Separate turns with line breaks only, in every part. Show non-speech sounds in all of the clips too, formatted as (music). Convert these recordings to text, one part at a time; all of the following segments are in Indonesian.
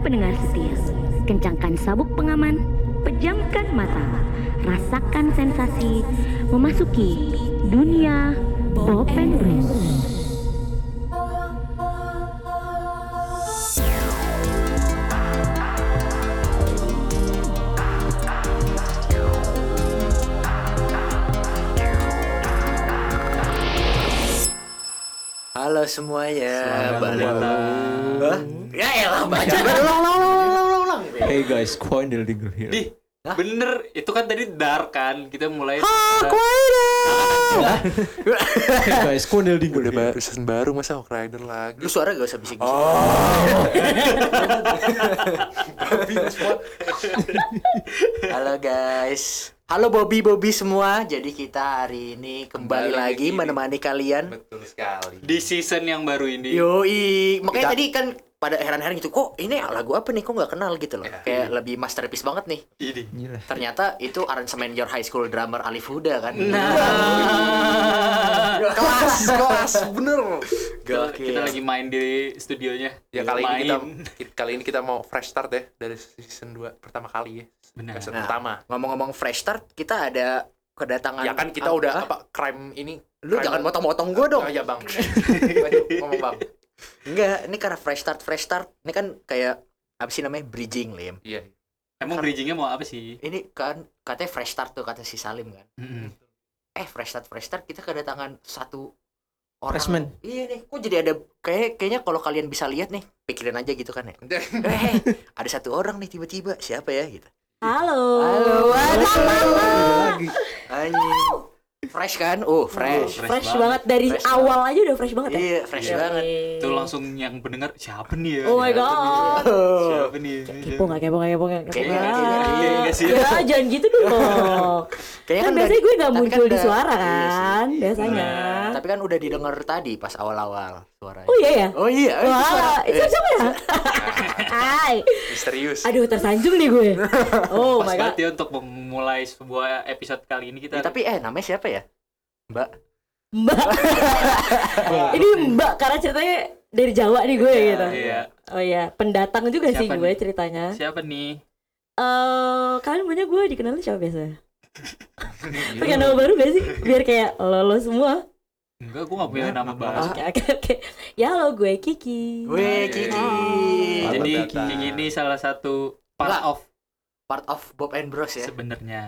pendengar setia, kencangkan sabuk pengaman, pejamkan mata, rasakan sensasi memasuki dunia Bob and Bruce.
Halo semuanya,
Selamat
balik
ulang
lagi. Hah? Ya elah baca.
Hey guys, Coin del Digger here.
Di,
Ah.
bener itu kan tadi dark kan kita mulai
Hey guys, Coin del Digger
Udah ba-
here.
season baru masa Hawk Rider lagi Oh.
Lu suara gak usah bisik-bisik. (laughs) Halo guys. Halo Bobby Bobby semua. Jadi kita hari ini kembali
Kembali
lagi
lagi.
menemani kalian.
Betul sekali
di season yang baru ini.
Yoi. Makanya
Kita-
tadi kan pada heran-heran gitu, kok ini lagu apa nih? Kok nggak kenal gitu loh.
Ya.
Kayak lebih masterpiece banget nih.
Ini.
Gitu,
Gila.
Ternyata itu aransemen Your High School Drummer Alif Huda kan.
Nah,
kelas, kelas, bener.
kita,
Gokil.
kita lagi main di studionya.
Ya kali
main.
ini
(laughs)
kita ki- kali ini kita mau fresh start ya dari season 2 pertama kali ya.
Benar.
Season
Nah.
pertama.
Ngomong-ngomong fresh start, kita ada kedatangan.
Ya kan kita
Ah,
udah
ah,
apa crime ini
Lu
crime-
jangan motong-motong gue dong.
Oh, ya Bang. Lanjut, Ngomong Bang.
Enggak, ini karena fresh start, fresh start. Ini kan kayak apa sih namanya bridging lim.
Iya.
Emang bridgingnya mau apa sih?
Ini kan katanya fresh start tuh kata si Salim kan. Eh fresh start, fresh start kita kedatangan satu orang.
Freshman.
Iya nih, kok jadi ada kayak kayaknya kalau kalian bisa lihat nih, pikirin aja gitu
(laughs)
kan ya. Eh, ada satu orang nih tiba-tiba siapa ya gitu.
Halo.
Halo,
Ada lagi.
Anjing. Fresh kan? Oh, fresh.
Fresh
Eh, fresh banget dari
Fresh
awal aja udah fresh banget ya.
Iya, fresh
Iya.
banget.
Itu langsung yang pendengar siapa nih ya?
Oh my
Siapa
god.
nih? Siapa nih?
Kepo nggak kepo nggak kepo nggak kepo.
Kayaknya-
nggak?
kayaknya-
kayaknya nggak sih.
Ya, jangan gitu dong.
Kayaknya
kan
udah
biasanya
di-
gue nggak
tapi
muncul di
udah-
suara
Iya sih.
kan biasanya.
Tapi kan udah didengar tadi pas awal-awal suaranya.
Oh iya ya.
Oh iya, itu suara.
Wah, itu
Eh,
siapa ya? Hai.
Misterius.
Aduh tersanjung nih gue. Oh
Pas
my
banget
god.
ya untuk memulai sebuah episode kali ini
eh,
kita.
tapi eh namanya siapa ya? Mbak.
Mbak. Ini Mbak karena ceritanya dari Jawa nih gue gitu.
Iya.
Oh iya, pendatang juga sih
Siapa
gue
nih?
ceritanya.
Siapa nih?
Eh, kalian punya gue dikenalnya siapa
Iya.
biasanya?
Iya.
Pakai nama baru gak sih? Biar kayak lo, lo
(laughs)
semua.
Enggak, gua nggak punya
Iya.
nama
Oke,
baru.
Ah,
oke, oke. Ya lo gue Kiki.
Weh, Kiki.
Halo,
Jadi
Tata.
Kiki ini salah satu part
Lah.
of
Part of Bob and Bros
Iya.
ya.
sebenarnya.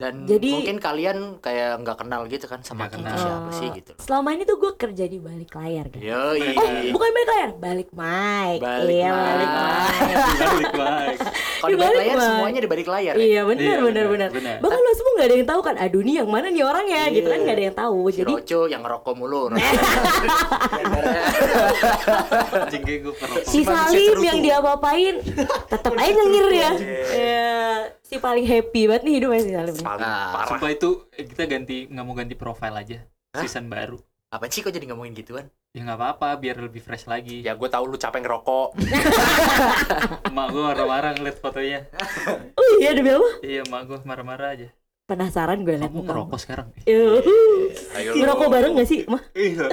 Dan
Jadi-
mungkin kalian kayak nggak kenal gitu kan sama Kiki
Nggak kenal.
siapa sih
Eh,
gitu. Eh, loh.
Selama ini tuh gue kerja di balik layar guys.
(laughs)
Yoi.
Oh, bukan balik layar, balik mic.
Iya. Balik
iya,
mic.
balik mic.
Balik balik.
Kalau di balik
dibalik,
layar
Bang.
semuanya di balik layar. ya?
(laughs) iya, benar,
Iya,
benar,
benar,
benar.
benar.
Bahkan lo semua gak ada yang tahu kan, aduh nih yang mana nih orangnya gitu kan
Iya.
gak ada yang tahu.
Si
Jadi Nah.
Roco yang ngerokok mulu.
Anjing gue gue pernah.
si Salim yang dia
(laughs)
apa-apain tetap aja nyengir ya. Iya, si paling happy banget nih hidupnya si Salim.
Paling
Nah,
parah.
Sumpah itu eh, kita ganti nggak mau ganti profile aja. Season baru.
Apa sih kok jadi ngomongin gituan?
Ya nggak apa-apa biar lebih fresh lagi.
Ya gue tahu lu capek ngerokok.
Emak gue marah-marah ngeliat fotonya.
Oh iya demi apa?
Iya, emak gue marah-marah aja.
Penasaran gue liat
Kamu
muka.
ngerokok sekarang?
Yuh.
Ayo.
Ngerokok bareng gak sih? Mah,
Iya.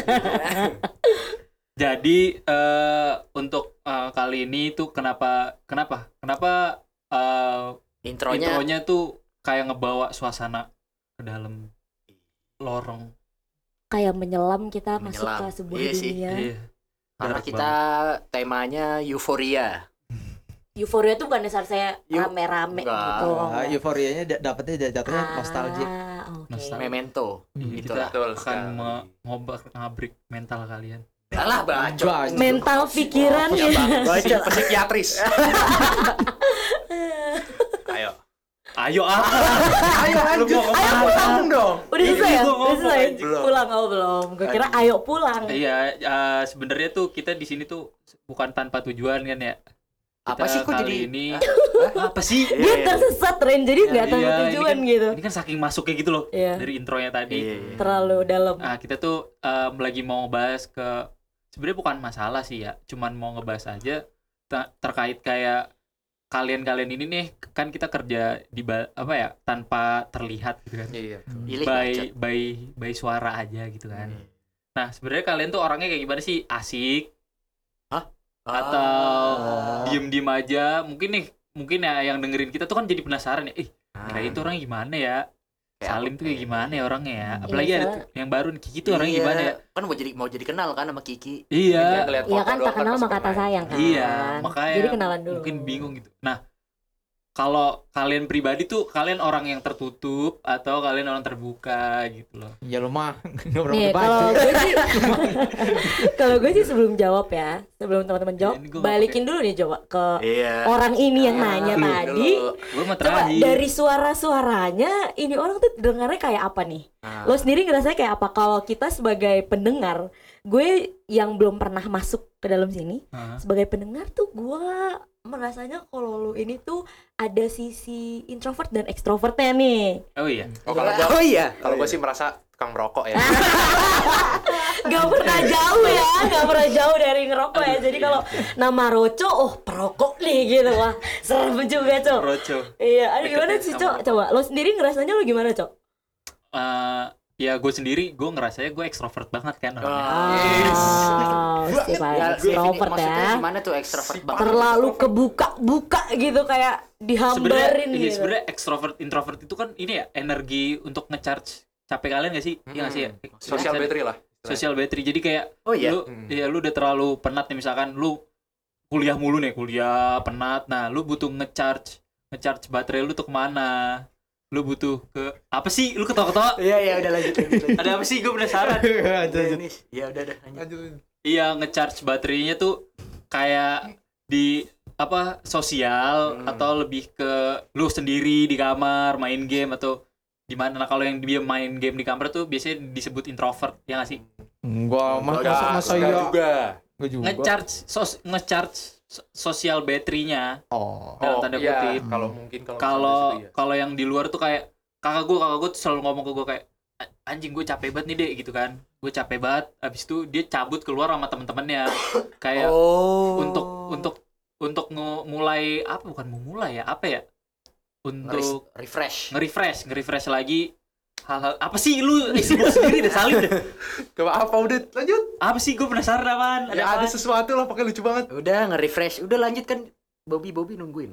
(laughs) Jadi eh untuk eh, kali ini tuh kenapa kenapa kenapa eh,
Intronya
intronya tuh kayak ngebawa suasana ke dalam lorong
kayak menyelam kita masuk
Menyelam.
ke sebuah
Iya sih.
dunia.
iya
karena
Dark
kita temanya euforia.
Euforia tuh bukan dasar saya
Yuk.
rame-rame
Enggak.
gitu. loh.
Ah, euforianya da- dapetnya da- jatuhnya nostalgia.
Ah,
Eh,
oke.
Nostalgia.
Memento.
Iya,
Gitu
kita
lah.
Betul
akan
sekali.
mengobrak ngabrik mental kalian
Alah bacot.
Bacot.
Mental pikiran
Ya,
ya.
Bang.
Bacot.
Psikiatris. Ayo.
ayo ah
Ayo (laughs) lanjut. Ayo pulang dong.
Udah
Ini
selesai ya?
gua
Udah
ngomong,
selesai?
anjing.
Pulang oh belum. Gue kira ayo pulang.
iya eh, sebenarnya tuh kita di sini tuh bukan tanpa tujuan kan ya
Apa
Kita
sih kok
kali
jadi
ini Iya,
Hah?
apa sih
Dia tersesat Ren, jadi
Iya,
nggak tahu
iya, ini
tujuan
kan-
gitu.
ini kan saking masuknya gitu loh
Iya.
dari intronya tadi
Iya, iya.
Terlalu dalam.
Nah, kita tuh em, lagi mau bahas ke sebenarnya bukan masalah sih ya, cuman mau ngebahas aja te- terkait kayak kalian-kalian ini nih kan kita kerja di ba- apa ya tanpa terlihat gitu kan.
Iya.
Pilih bacot.
By by by Iya. suara aja gitu kan. Nah, sebenarnya kalian tuh orangnya kayak gimana sih? Asik.
Hah?
atau Ah.
Oh.
Iya, diem-diem aja mungkin nih mungkin ya yang dengerin kita tuh kan jadi penasaran ya ih kira itu orang gimana ya Salim tuh kayak gimana ya orangnya ya apalagi ada
Iya, soalnya-
tuh yang baru nih, Kiki tuh orangnya gimana ya
Kan mau jadi mau jadi kenal kan sama Kiki.
iya
Iya kan tak kenal maka tak sayang kan.
Iya, makanya
Jadi kenalan dulu.
mungkin bingung gitu nah kalau kalian pribadi tuh kalian orang yang tertutup atau kalian orang terbuka gitu loh
Ya lu mah nggak pernah
Nih,
baca.
kalau gue sih (laughs) kalau gue sih sebelum jawab ya, sebelum teman-teman jawab,
Ini gue nggak Nah,
balikin dulu nih coba ke
Iya.
orang Oh, ini yang nanya
Iya.
Dulu,
tadi.
dulu.
gue mah
Coba
terakhir
dari suara-suaranya ini orang tuh dengarnya kayak apa nih?
Ah.
Lo sendiri ngerasa kayak apa kalau kita sebagai pendengar, gue yang belum pernah masuk ke dalam sini,
Hah?
sebagai pendengar tuh gua merasanya kalau lu ini tuh ada sisi introvert dan ekstrovertnya nih.
oh iya
Oh kalau gua
Oh iya.
kalau gua sih merasa tukang merokok ya.
Gak pernah jauh ya, gak pernah jauh dari ngerokok ya.
iya.
Jadi kalau nama Roco, oh perokok nih gitu wah serem juga cok.
roco
Iya, aduh gimana
Deket-deket
sih
sama
cok?
rokok.
Coba lo sendiri ngerasanya lo gimana cok?
Eh, ya gue sendiri gue ngerasanya gue ekstrovert banget kan orangnya.
Ah.
Oh, si paling
Ya,
extrovert
maksudnya
ya.
gimana tuh ekstrovert banget?
Terlalu kebuka-buka gitu kayak
sebenarnya
dihambarin
ini
gitu.
sebenarnya extrovert introvert itu kan ini ya energi untuk ngecharge capek kalian gak sih Iya gak sih ya?
Sosial battery lah.
Social battery jadi kayak
Oh iya.
lu
Hmm.
ya lu udah terlalu penat nih misalkan lu kuliah mulu nih kuliah penat nah lu butuh ngecharge ngecharge baterai lu tuh kemana lu butuh ke apa sih lu ketawa-ketawa
Iya iya udah lanjut. lanjut, lanjut.
ada apa sih gue penasaran
Udah, Nis. Iya udah udah. lanjut.
Iya ngecharge baterainya tuh kayak di apa sosial atau lebih ke lu sendiri di kamar main game atau di mana nah kalau yang dia main game di kamar tuh biasanya disebut introvert ya nggak sih
Enggak, mah
Enggak,
masa masa
enggak
ya.
juga.
Enggak juga.
ngecharge sos ngecharge so- sosial baterainya
Oh.
Dalam tanda
iya,
kutip.
kalau mungkin kalau
kalau
misalnya gitu, iya.
kalau yang di luar tuh kayak kakak gue kakak gue selalu ngomong ke gue kayak "A- anjing gue capek banget nih dek gitu kan gue capek banget abis itu dia cabut keluar sama temen-temennya kayak
Oh.
untuk untuk untuk nge- mulai apa bukan memulai ya apa ya
Ngeris-
untuk
refresh.
nge-refresh nge-refresh lagi hal-hal apa sih lu isi mulut sendiri deh salin deh
Coba apa udah lanjut?
apa sih gue penasaran apaan
Ya,
apaan?
ada sesuatu lah pakai lucu banget.
Udah nge-refresh. Udah lanjut kan. Bobby Bobby nungguin.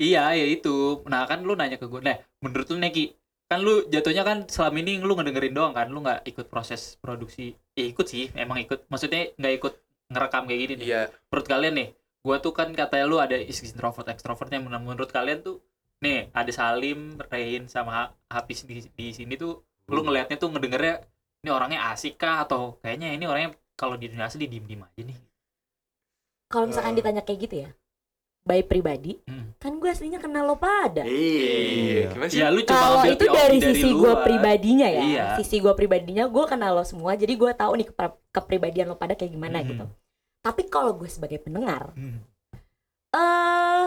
iya ya itu nah kan lu nanya ke gue nah menurut lu Neki kan lu jatuhnya kan selama ini lu ngedengerin doang kan lu nggak ikut proses produksi ya ikut sih emang ikut maksudnya nggak ikut ngerekam kayak gini nih.
Iya.
menurut kalian nih gua tuh kan katanya lu ada is- introvert ekstrovertnya Nah, menurut kalian tuh nih ada Salim Rain sama Hafiz di, di sini tuh lu
Hmm.
ngelihatnya tuh ngedengernya ini orangnya asik kah atau kayaknya ini orangnya kalau di dunia asli diem diem aja nih
Kalau misalkan ditanya kayak gitu ya, by pribadi,
Eh. Hmm.
kan gue aslinya kenal lo pada.
Iya, gimana sih?
ya lu coba
Kalau
ambil
itu
teori
dari sisi gue
luar.
pribadinya ya,
Iya.
sisi gue pribadinya gue kenal lo semua, jadi gue tahu nih kepra- kepribadian lo pada kayak gimana
Mhm.
gitu. Tapi kalau gue sebagai pendengar,
Hmm.
eh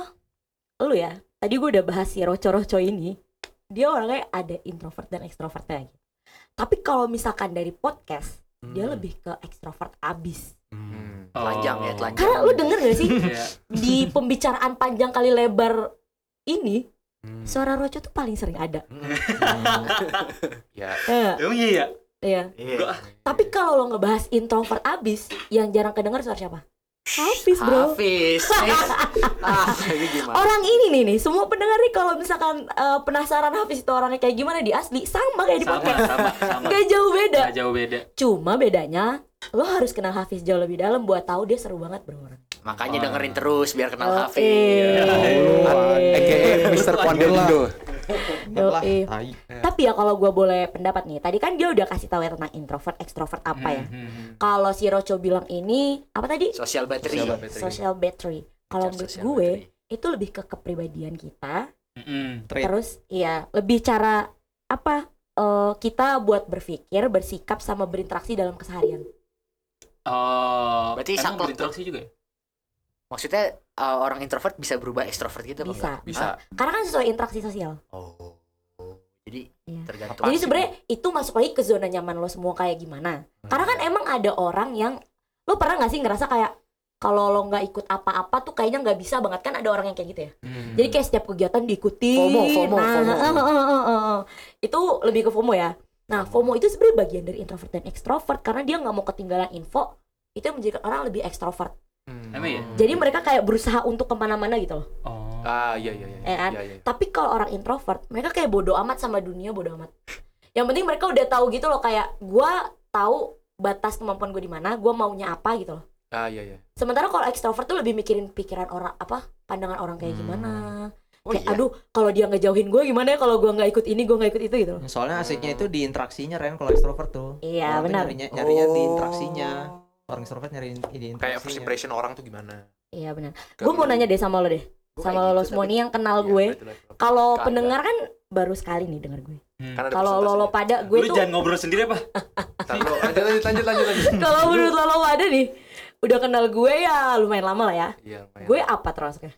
lu ya, tadi gue udah bahas si roco-roco ini, dia orangnya ada introvert dan ekstrovertnya gitu. Tapi kalau misalkan dari podcast, dia
Hmm.
lebih ke ekstrovert abis.
Hmm.
Telanjang ya, telanjang.
Karena lu denger gak sih
Oh. Iya. (laughs)
di pembicaraan panjang kali lebar ini
Hmm.
suara roco tuh paling sering
(laughs)
ada.
Ya,
Eh,
emang iya ya
iya.
Iya.
Tapi kalau lo ngebahas introvert abis, yang jarang kedenger suara siapa? Hafiz bro.
Hafiz.
(laughs)
Nis. ah, ini gimana?
Orang ini nih nih, semua pendengar nih kalau misalkan eh, penasaran Hafiz itu orangnya kayak gimana di asli, sama kayak di
sama
podcast.
sama sama
Gak jauh beda.
Nggak jauh beda
Cuma bedanya lo harus kenal Hafiz jauh lebih dalam buat tahu dia seru banget bro orang.
Makanya dengerin terus biar kenal
Oh,
Hafiz.
eh.
Mr.
Pandelindo.
Yo,
Lah,
eh.
tai.
Tapi ya kalau gue boleh pendapat nih, tadi kan dia udah kasih tahu ya tentang introvert, ekstrovert apa ya.
Hmm, hmm,
Kalau si Roco bilang ini apa tadi?
Sosial battery.
Sosial battery.
Social battery. Kalau menurut
Sosial
gue
battery.
itu lebih ke kepribadian kita.
hmm. Hmm.
Trait.
Terus iya lebih cara apa eh, kita buat berpikir, bersikap sama berinteraksi dalam keseharian.
oh
Berarti saklek
emang berinteraksi juga ya
Maksudnya uh, orang introvert bisa berubah ekstrovert gitu apa
Bisa.
enggak?
bisa.
Karena kan sesuai interaksi sosial.
Oh. Jadi
Iya.
tergantung.
Jadi sebenarnya itu masuk lagi ke zona nyaman lo semua kayak gimana. Karena kan emang ada orang yang lo pernah nggak sih ngerasa kayak kalau lo nggak ikut apa-apa tuh kayaknya nggak bisa banget kan ada orang yang kayak gitu ya.
Hmm.
Jadi kayak setiap kegiatan diikuti.
FOMO, FOMO,
nah,
FOMO.
eh, eh, eh, eh, eh. Itu lebih ke FOMO ya. Nah, FOMO itu sebenarnya bagian dari introvert dan ekstrovert karena dia nggak mau ketinggalan info. Itu yang menjadikan orang lebih ekstrovert.
Hmm.
Emang ya?
Hmm.
Jadi mereka kayak berusaha untuk kemana-mana gitu loh.
Oh.
Ah iya iya iya.
Eh, kan?
iya, iya.
Tapi kalau orang introvert, mereka kayak bodoh amat sama dunia, bodoh amat. Yang penting mereka udah tahu gitu loh kayak gua tahu batas kemampuan gue di mana, gua maunya apa gitu loh.
Ah iya iya.
Sementara kalau ekstrovert tuh lebih mikirin pikiran orang apa, pandangan orang kayak
Hmm.
gimana.
Oh
kayak
iya.
aduh, kalau dia ngejauhin gue gimana ya kalau gua nggak ikut ini, gua nggak ikut itu gitu loh.
Soalnya asiknya itu di interaksinya Ren kalau extrovert tuh. Orang
Iya,
tuh
benar.
Nyarinya, nyarinya di interaksinya.
Oh.
Orang extrovert nyari di interaksinya.
Kayak first impression orang tuh gimana?
Iya, benar. Gue mau nanya deh sama lo deh.
Gua kayak
Sama
gitu,
lo
tapi-
semua nih yang kenal
Iya,
gue.
betul, betul.
Kalau
Kagak.
pendengar kan baru sekali nih denger gue.
Hmm.
Kan ada
Kalau lo lo
presentasinya.
pada gue
Lu
tuh
jangan ngobrol sendiri apa?
Ntar lu- lanjut lanjut lanjut lanjut. lanjut.
(laughs) kalau menurut lo lo pada nih udah kenal gue ya lumayan lama lah ya.
Iya, lumayan.
Gue apa (laughs) termasuknya?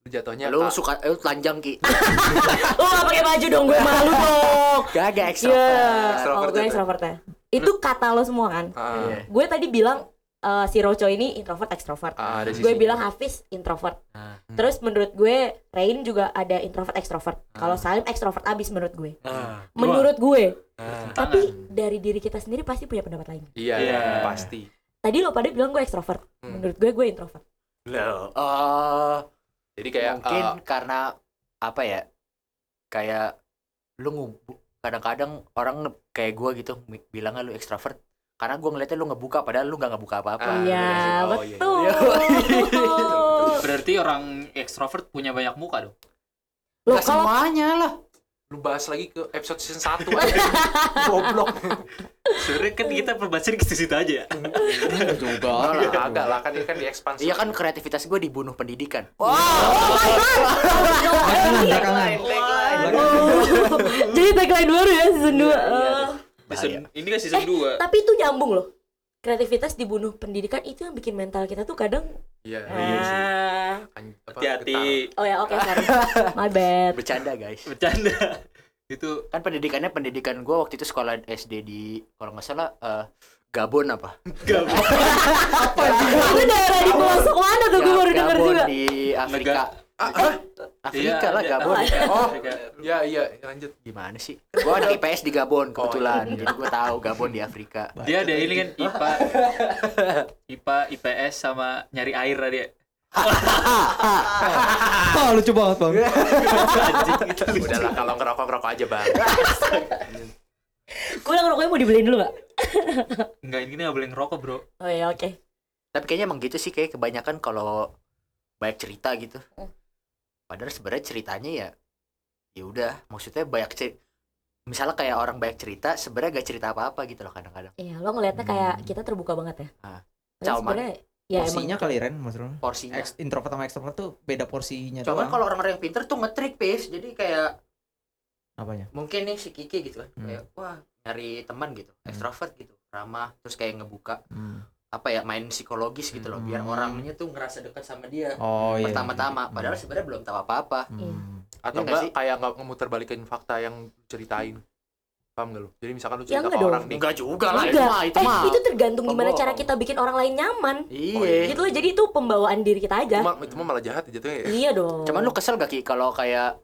Lu jatuhnya
Lu
ah,
suka eh, lu telanjang ki.
Ah, Lo gak pakai baju dong gue malu dong.
Gak ada
Iya.
extrovert.
Extrovert
Kalau gue
ya,
extrovert ya. Itu kata lo semua kan.
ah,
Iya.
Gue tadi bilang eh, si Roco ini introvert ekstrovert.
ah, ada
gue
sisinya.
bilang Hafiz introvert.
Ah.
Terus menurut gue Rain juga ada introvert ekstrovert.
Hmm.
Kalau Salim ekstrovert abis menurut gue.
Ah.
Menurut gue.
Ah.
Tapi dari diri kita sendiri pasti punya pendapat lain.
Iya,
Iya.
pasti.
Tadi lo pada bilang gue ekstrovert.
Hmm.
Menurut gue gue introvert.
Loh, eh,
Jadi kayak
mungkin
ah,
karena apa ya? Kayak lu ngubu kadang-kadang orang nge- kayak gua gitu mi- bilangnya lu extrovert karena gua ngeliatnya lu ngebuka padahal lu nggak ngebuka apa-apa.
Ah,
Iya
bener sih. Oh, iya, (laughs)
betul.
iya.
Berarti orang ekstrovert punya banyak muka dong.
Lo
Nggak
kalau
semuanya lah.
lu bahas lagi ke episode season 1
(laughs)
(laughs) Goblok.
Sebenarnya kan kita perbahasan ke situ aja ya.
Hmm, juga.
Oh, lah, agak lah kan ini kan di ekspansi.
Iya kan kreativitas gua dibunuh pendidikan.
Oh
Belakangan, belakangan.
Iya.
jadi tagline baru ya
Iya,
season 2
Season- ini kan season
Eh,
2.
tapi itu nyambung loh kreativitas dibunuh pendidikan itu yang bikin mental kita tuh kadang
Iya.
Oh,
Ah.
An- apa,
Hati-hati.
oh ya oke sorry (laughs) my bad
Bercanda guys.
Bercanda. itu
Kan pendidikannya pendidikan gua waktu itu sekolah SD di kalau nggak salah eh, Gabon apa?
gabung.
itu daerah di pelosok mana tuh gue
Gab-
baru denger
Gabon
juga
di Afrika. Afrika
Ah, Iya,
lah
iya.
Gabon.
Oh.
Mereka
ketara. Iya, iya, lanjut.
Gimana sih? Gua ada IPS di Gabon kebetulan.
Oh,
iya.
Jadi gua tahu Gabon di Afrika.
Dia ada ini kan IPA, IPA, IPS sama nyari air lah dia.
ah,
Ah, lucu banget bang.
Udahlah kalau ngerokok-ngerokok aja, Bang.
Iya
gue bilang rokoknya mau dibeliin dulu gak?
Enggak ini nggak boleh ngerokok bro.
Iya,
oh ya oke
Tapi kayaknya emang gitu sih kayak kebanyakan kalau banyak cerita gitu.
Hmm.
Padahal sebenarnya ceritanya ya ya udah, maksudnya banyak cerita Misalnya kayak orang banyak cerita, sebenarnya gak cerita apa-apa gitu loh kadang-kadang.
Iya, lo ngelihatnya kayak kita terbuka banget ya
Ah.
Padahal
Cauman.
sebenarnya ya
Porsinya
emang
kali Ren maksudnya.
Porsinya.
Ex- introvert sama extrovert tuh beda porsinya
Cuman
doang.
Iya. kalau orang-orang yang pinter tuh ngetrik pis, jadi kayak
apanya?
mungkin nih si Kiki gitu kan,
Hmm.
kayak wah nyari teman gitu, ekstrovert gitu, ramah, terus kayak ngebuka
Hmm.
apa ya main psikologis gitu loh, biar
Hmm.
orangnya tuh ngerasa dekat sama dia
Oh iya.
pertama-tama,
Hmm.
padahal sebenarnya belum tahu apa-apa.
Hmm.
Iya nggak
Atau enggak
sih?
kayak enggak ngemutarbalikin fakta yang lu ceritain. Paham enggak lu? Jadi misalkan lu
Ya
cerita
nggak
ke
dong.
orang nih.
Enggak juga lah, itu
Enggak.
mah, itu
eh,
mah.
itu tergantung gimana
Pembohong.
cara kita bikin orang lain nyaman
Oh, iya.
Iya.
gitu loh jadi itu pembawaan diri kita
Itu
aja
mah, itu mah malah jahat ya jatuhnya ya.
iya dong
Cuman lu kesel gak Ki kalau kayak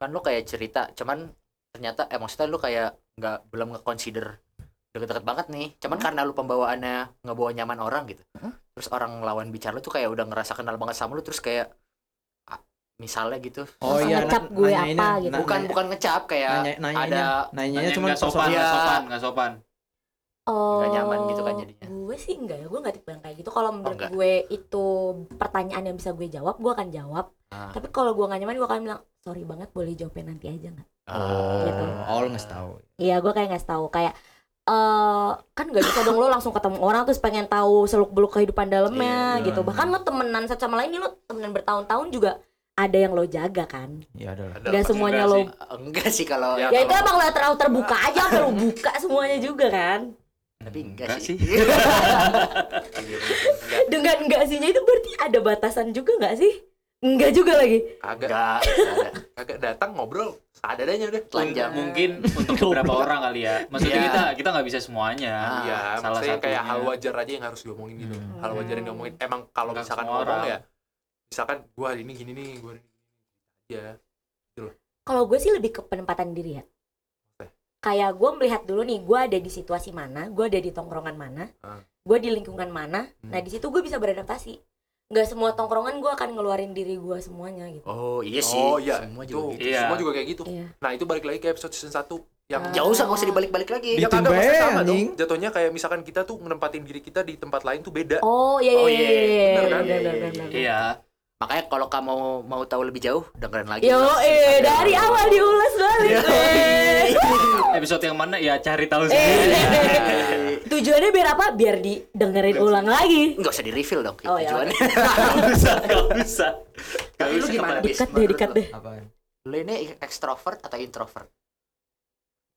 kan lu kayak cerita, cuman ternyata eh maksudnya lu kayak nggak belum nge-consider deket-deket banget nih. Cuman karena lu pembawaannya ngebawa nyaman orang gitu. Terus orang lawan bicara lu tuh kayak udah ngerasa kenal banget sama lu terus kayak ah, misalnya gitu.
Oh
Masa
iya.
ngecap
na-
gue
nanyainnya-
apa gitu.
na-
bukan
nanya-
bukan ngecap kayak
nanya, nanya,
ada
nanyanya
Nanya
cuma
nggak sopan,
persoalan-
nggak
Iya.
sopan, nggak sopan.
Oh,
Nggak nyaman gitu kan jadinya. Oh,
Gue sih enggak ya, gue enggak tipe yang kayak gitu. Kalau menurut
enggak.
gue itu pertanyaan yang bisa gue jawab, gue akan jawab.
Ah.
Tapi kalau gue nggak nyaman, gue akan bilang sorry banget, boleh jawabin nanti aja nggak?
Ah,
Gitu.
Oh, lu nggak tahu.
Iya, gue kayak nggak tahu kayak eh kan nggak bisa dong lo langsung ketemu orang terus pengen tahu seluk beluk kehidupan dalamnya
Iya.
gitu. Bahkan lo temenan satu sama lain, ini lo temenan bertahun-tahun juga ada yang lo jaga kan.
Iya ada lah.
Ada
Enggak
pasti.
semuanya
enggak
lo.
sih.
Enggak sih kalau
Ya,
Ya itu
kalau-
emang lo terlalu terbuka aja, sampai lo buka semuanya juga kan.
tapi enggak,
Enggak
sih.
Dengan enggak sihnya itu berarti ada batasan juga nggak sih? Enggak juga lagi.
Kagak
enggak, enggak ada.
kagak datang ngobrol seadanya udah.
telanjang.
Mungkin untuk beberapa orang kali ya. Maksudnya
Iya.
kita kita nggak bisa semuanya.
Ah,
Iya,
salah
maksudnya kayak
satunya.
hal wajar aja yang harus diomongin gitu.
Hmm.
Hal wajar yang diomongin. Emang kalau
Nggak
misalkan
semua
ngomong
orang.
ya, misalkan gua hari ini gini nih, gua hari ini gini. Ya,
Kalau gue sih lebih ke penempatan diri ya.
Oke.
Kayak gue melihat dulu nih, gue ada di situasi mana, gue ada di tongkrongan mana,
Ah.
gue di lingkungan mana.
Hmm.
Nah di situ gue bisa beradaptasi. nggak semua tongkrongan gue akan ngeluarin diri gue semuanya gitu
Oh iya sih.
oh iya
Semua
itu
juga gitu.
Iya.
semua juga kayak gitu
iya
nah itu balik lagi ke episode season 1 yang
Ah.
Gak usah nggak usah dibalik-balik lagi.
Ya kagak
Ditimba
maksudnya
ya,
sama dong
anjing.
Jatuhnya kayak misalkan kita tuh nempatin diri kita di tempat lain tuh beda
oh iya iya
Oh,
iya
iya,
iya
bener
iya
kan?
iya iya iya
Iya.
Makanya kalau kamu mau mau tahu lebih jauh dengerin lagi.
Yo, eh, dari awal diulas balik. eh.
Episode yang mana ya cari
(laughs)
tahu sendiri.
Eh. Tujuannya biar apa? Biar didengerin ulang lagi.
Enggak usah di-reveal dong
Oh, iya.
tujuannya.
Gak bisa, gak bisa. Gak
Tapi lu
bisa
gimana?
kemana-mana.
Dekat deh,
menurut
dekat
lo?
deh.
Apaan?
Lu ini ekstrovert atau introvert?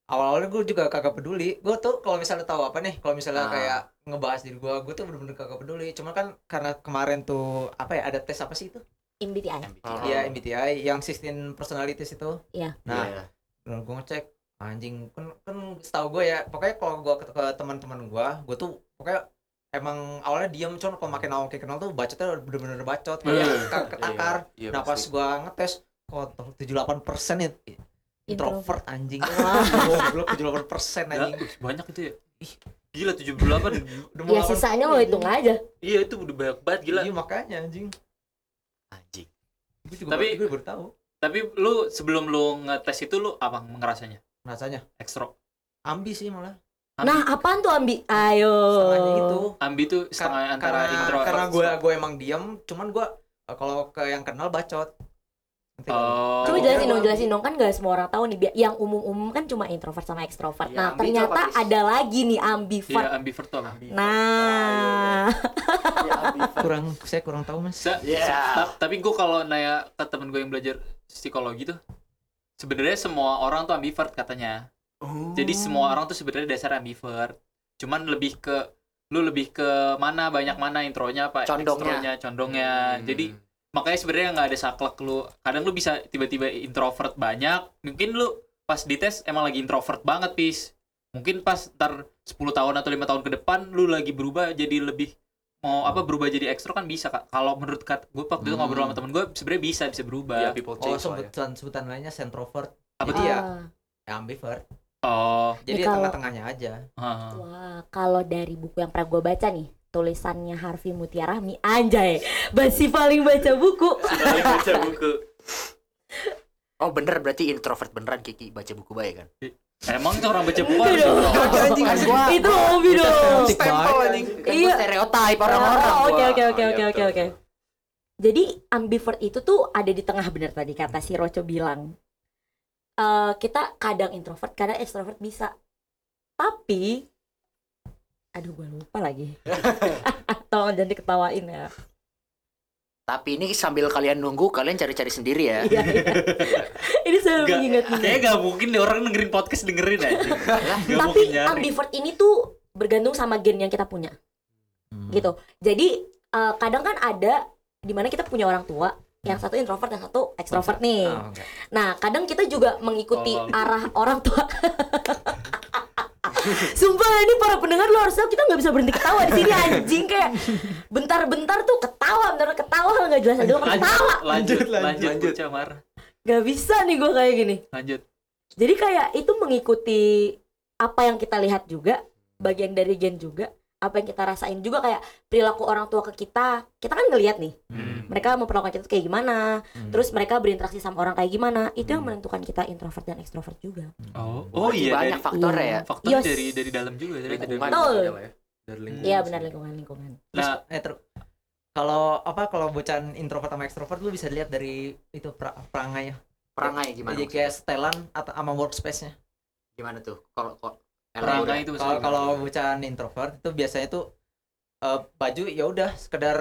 awal-awalnya gue juga kagak peduli gue tuh kalau misalnya tahu apa nih kalau misalnya
Ah.
kayak ngebahas diri gue gue tuh bener-bener kagak peduli cuma kan karena kemarin tuh apa ya ada tes apa sih itu
MBTI.
MBTI.
Oh.
Iya MBTI yang 16 personalities itu
Iya.
nah
Iya.
bener gue ngecek anjing kan kan setahu gue ya pokoknya kalau gue ke, ke teman-teman gue gue tuh pokoknya emang awalnya diem cuman kalau makin awal makin kenal tuh bacotnya bener-bener bacot kayak
Iya.
ke- ketakar
Iya,
nah pas
pasti.
gue ngetes kotor 78 persen ya? introvert anjing
Introvert.
goblok 78 persen
Gak,
anjing
uh, banyak itu ya. Ih, gila 78.
Udah
Ya
mau lawan-
sisanya lo hitung aja.
iya itu udah banyak banget gila.
Iya makanya anjing.
Anjing.
Gue juga
Tapi-
baru, gue baru tahu
Tapi lu sebelum lu ngetes itu lu apa ngerasanya?
rasanya.
Ekstro.
Ambi sih malah.
Ambi.
Nah, apaan tuh ambi? Ayo.
Setengahnya gitu. itu.
Ambi tuh
Kar-
setengah antara
karena
introvert.
karena gue gue emang diem, cuman gue eh, kalau ke yang kenal bacot. Ngerti nggak?
Oh.
Coba
Kalau
jelasin
gue
dong,
ambi.
jelasin dong kan gak semua orang tahu nih. Bi- Yang umum-umum kan cuma introvert sama ekstrovert.
Iya,
Nah,
ambi itu
ternyata
apa sih?
ada lagi nih ambivert.
Iya, ambivert tuh apa?
Nah, (laughs)
Kurang saya kurang tahu mas.
Sa-
Iya.
ta- tapi gue kalau nanya ke temen gue yang belajar psikologi tuh sebenarnya semua orang tuh ambivert katanya jadi semua orang tuh sebenarnya dasar ambivert cuman lebih ke lu lebih ke mana banyak mana intronya apa
Condongnya.
extronya, condongnya
Nah, Hmm.
jadi makanya sebenarnya nggak ada saklek lu kadang lu bisa tiba-tiba introvert banyak mungkin lu pas dites emang lagi introvert banget pis mungkin pas ntar 10 tahun atau lima tahun ke depan lu lagi berubah jadi lebih mau apa berubah jadi ekstro kan bisa kak kalau menurut kat gue waktu itu
Hmm.
ngobrol sama temen gue sebenarnya bisa bisa berubah
ya people
Oh
change lah (laughs) ya.
sebutan sebutan lainnya sentrovert.
Apa
Jadi ya,
ah,
ya ambivert.
oh
Jadi
kalau-
tengah-tengahnya aja.
ha.
wah, kalau dari buku yang pernah gue baca nih, tulisannya Harvey Mutiarahmi anjay. Basi paling baca buku.
Balik baca buku
Oh bener berarti introvert beneran Kiki baca buku baik kan?
emang tuh orang baca buku harus
Aduh.
introvert.
Iya, Anjing, anjing.
Ah,
Gua-
itu hobi dong.
Stempel
anjing.
Kan
Iya.
gua stereotype orang-orang.
Oh, Oke
gua.
oke oke
Ah,
oke
iya,
oke
betul,
oke. Jadi ambivert itu tuh ada di tengah bener tadi kata si Roco bilang. Eh kita kadang introvert, kadang ekstrovert bisa. Tapi aduh gue lupa
(laughs)
lagi. (laughs) Tolong jangan diketawain ya.
Tapi ini sambil kalian nunggu kalian cari-cari sendiri ya.
Iya, iya. Ini selalu
Nggak,
mengingat-ingat.
kayaknya gak mungkin deh orang dengerin podcast dengerin aja Nggak
Tapi
mungkin nyari.
ambivert ini tuh bergantung sama gen yang kita punya.
Hmm.
gitu. Jadi eh, kadang kan ada dimana kita punya orang tua yang satu introvert yang satu ekstrovert nih.
Ah, enggak.
Nah kadang kita juga mengikuti
Tolong.
arah orang tua. (laughs) Sumpah ini para pendengar lu harus tahu kita nggak bisa berhenti ketawa di sini anjing kayak bentar-bentar tuh ketawa, bentar ketawa nggak jelas aja
lanjut,
ketawa.
lanjut
Lanjut,
lanjut
lanjut.
Buca, Mar.
Gak bisa nih gue kayak gini.
lanjut
Jadi kayak itu mengikuti apa yang kita lihat juga, bagian dari gen juga, apa yang kita rasain juga kayak perilaku orang tua ke kita. Kita kan ngelihat nih, mereka memperlakukan kita tuh kayak gimana,
Hmm.
terus mereka berinteraksi sama orang kayak gimana, itu yang menentukan kita introvert dan ekstrovert juga.
oh oh
Berarti
iya
banyak
dari-
faktornya ya.
faktor
Yes.
dari dari dalam juga
Iya,
dari dari
lingkungan
Betul.
juga lah ya. dari lingkungan
Iya
sih.
benar lingkungan-lingkungan.
nah
Eh ter- kalau apa kalau bocan introvert sama ekstrovert lu bisa lihat dari itu pra- perangainya.
Perangai
Iya,
gimana?
Jadi kayak setelan atau sama workspace-nya.
Gimana tuh? Kalau kalau
perangai itu
kalau
maksudnya.
kalau bucaan introvert itu biasanya tuh eh, baju ya udah sekedar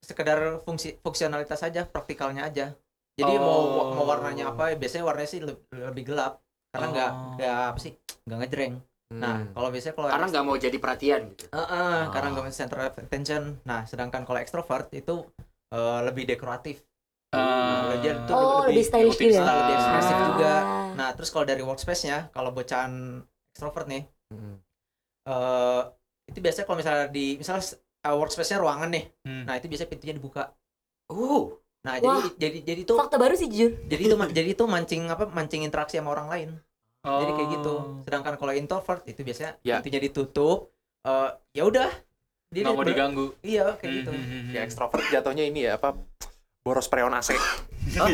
sekedar fungsi fungsionalitas aja praktikalnya aja jadi mau
Oh.
mau warnanya apa biasanya warnanya sih le- lebih gelap karena nggak
Oh. Iya.
nggak apa sih nggak ngejreng
Hmm.
nah kalau biasanya kalau
karena nggak mau jadi perhatian gitu.
Eh, eh, karena nggak mau center of attention nah sedangkan kalau ekstrovert itu eh, lebih dekoratif
Eh,
Dia tuh
Oh, lebih stylish
lebih
gitu ya?
style, lebih ekspresif
Ah.
juga.
nah terus kalau dari workspace-nya kalau bocahan ekstrovert nih
Hmm.
eh itu biasanya kalau misalnya di misalnya s- eh, workspace-nya ruangan nih
Hmm.
nah itu biasanya pintunya dibuka
Uh,
nah
Wah.
jadi jadi jadi itu
Fakta baru sih jujur.
jadi itu ma- jadi itu mancing apa mancing interaksi sama orang lain jadi kayak gitu
Oh.
sedangkan kalau introvert itu biasanya
Ya.
pintunya ditutup eh ya udah Dia
nggak mau
ber-
diganggu
Iya, kayak gitu. (laughs)
Hmm, (laughs) hmm, hmm.
ya ekstrovert jatuhnya ini ya apa boros freon AC
Iya.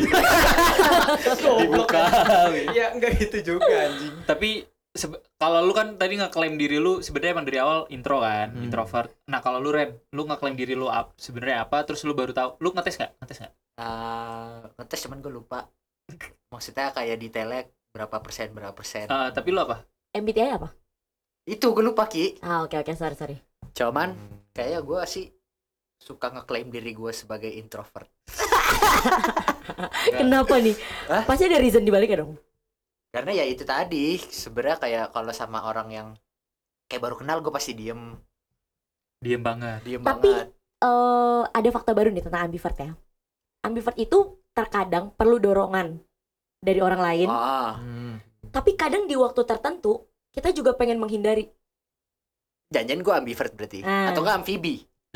dibuka
Iya, enggak gitu juga anjing.
tapi sebe- kalau lu kan tadi ngeklaim diri lu sebenarnya emang dari awal intro kan
Hmm.
introvert nah kalau lu Ren lu ngeklaim diri lu up sebenarnya apa terus lu baru tahu lu ngetes nggak ngetes nggak
Eh, ngetes cuman gue lupa (laughs) maksudnya kayak detailnya berapa persen berapa persen
Eh, tapi lu apa
MBTI apa?
itu gue lupa ki
Ah oke oke sorry sorry.
cuman kayaknya gue sih suka ngeklaim diri gue sebagai introvert
Kenapa nih?
Hah?
Pasti ada reason dibaliknya dong.
karena ya itu tadi sebenarnya kayak kalau sama orang yang kayak baru kenal gue pasti diem
diem banget
diem
Tapi-
banget
eh ada fakta baru nih tentang ambivert ya. Ambivert itu terkadang perlu dorongan dari orang lain,
ah
tapi kadang di waktu tertentu kita juga pengen (laughs) menghindari.
janjian gue ambivert berarti
Ah.
atau enggak
(laughs)
amfibi (laughs)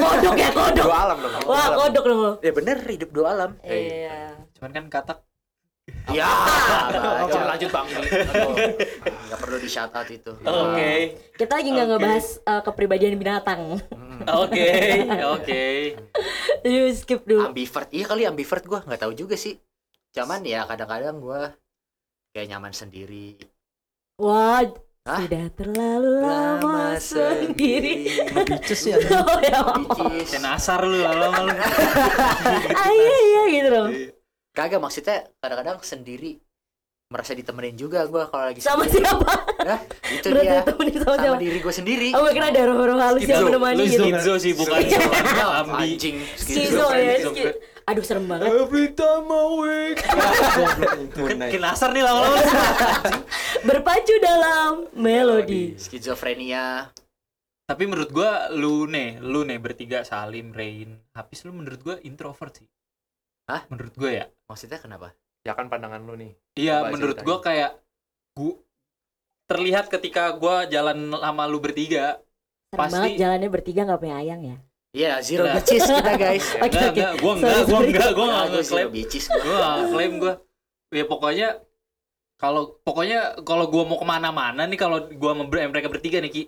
Kodok ya kodok.
dua alam dong dua
Wah
alam.
kodok dong lo.
ya bener hidup dua alam
Iya.
cuman kan katak
(laughs)
ya
Oke, lanjut bang ini Aduh.
nggak perlu di shout out itu
Kita lagi nggak
Oke.
ngebahas eh, kepribadian binatang. (laughs)
Mm.
oke (laughs) oke
Yuk skip dulu.
ambivert iya kali ambivert gue nggak tahu juga sih cuman ya kadang-kadang gue kayak nyaman sendiri
Wah.
Hah?
Sudah terlalu lama sendiri.
Bicus ya.
(laughs) Oh ya.
Bitches.
dan asar lu lama-lama lu.
Ah, iya iya gitu dong.
kagak maksudnya kadang-kadang sendiri merasa ditemenin juga gue kalau lagi
Sama
sendiri.
siapa?
Hah? itu
Berarti
dia
temenin Iya. sama
sama
siapa?
diri gue sendiri
Oh, gue kira ada roh-roh halus yang
Lu- lu
menemani gitu.
schizo sih bukan
Schizo.
ambi
anjing
Schizo ya.
Gitu. Schizo.
schi- Aduh serem banget.
Every time I wake. Goblok itu, Nay.
Kena asar nih lama-lama
Berpacu dalam melodi.
skizofrenia
tapi menurut gua lu nih lu nih bertiga Salim Rain habis lu menurut gua introvert sih
Hah?
menurut gua ya
maksudnya kenapa
ya kan pandangan lu nih
Iya,
Coba
menurut
ceritain.
gua kayak gua terlihat ketika gua jalan sama lu bertiga.
Serem
Pasti.
banget jalannya bertiga nggak punya ayang ya.
Iya, zero
Nah.
bitches
(laughs)
kita guys.
Oke
enggak,
oke.
enggak, gua enggak, gua
Sorry, sorry.
enggak, gua enggak
Nah, gua
ngeklaim.
zero bitches gua.
Gua enggak ngeklaim gua. Ya pokoknya kalau pokoknya kalau gua mau kemana-mana nih kalau gua sama ber- mereka bertiga nih Ki.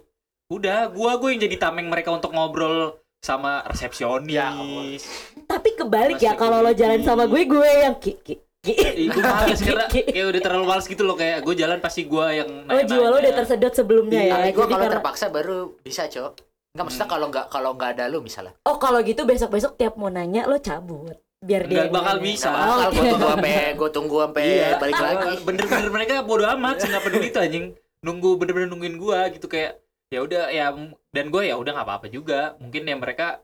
Udah, gua gua yang jadi tameng mereka untuk ngobrol sama resepsionis.
Ya Allah.
Tapi kebalik ya
Masih
kalau lo jalan sama gue gue yang ki ki. ki.
Itu
(laughs)
males karena kayak udah terlalu males gitu loh kayak gua jalan pasti gua yang
(laughs) Oh jiwa
nanya-nanya.
lo udah tersedot sebelumnya
Iya,
ya.
Tapi gua
Jadi
kalau
karena-
terpaksa baru bisa, Cok. Enggak maksudnya
Hmm.
kalau enggak kalau enggak ada lu misalnya.
Oh kalau gitu besok besok tiap mau nanya lo cabut biar dia.
Nggak bakal
yang nanya.
bisa. Iya.
Nggak bakal gua
Oke.
tunggu sampai gua tunggu sampai Iya,
Iya.
balik lagi.
Nah, bener-bener mereka bodo amat sih, nggak peduli tuh anjing nunggu bener-bener nungguin gua gitu kayak ya udah ya m- dan gua ya udah nggak apa-apa juga mungkin ya mereka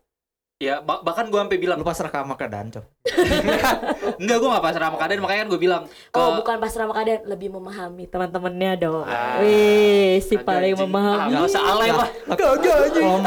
ya ba- bahkan gua sampai bilang
Lu pas rekam sama keadaan, Cok.
enggak gua nggak pasrah sama keadaan makanya kan gua bilang ke
Oh bukan pas ramah keadaan lebih memahami teman-temannya dong.
Ah.
Wih si
Ada
paling
anjing. ah,
memahami.
nggak usah alay lah
Iya. Nah, Om,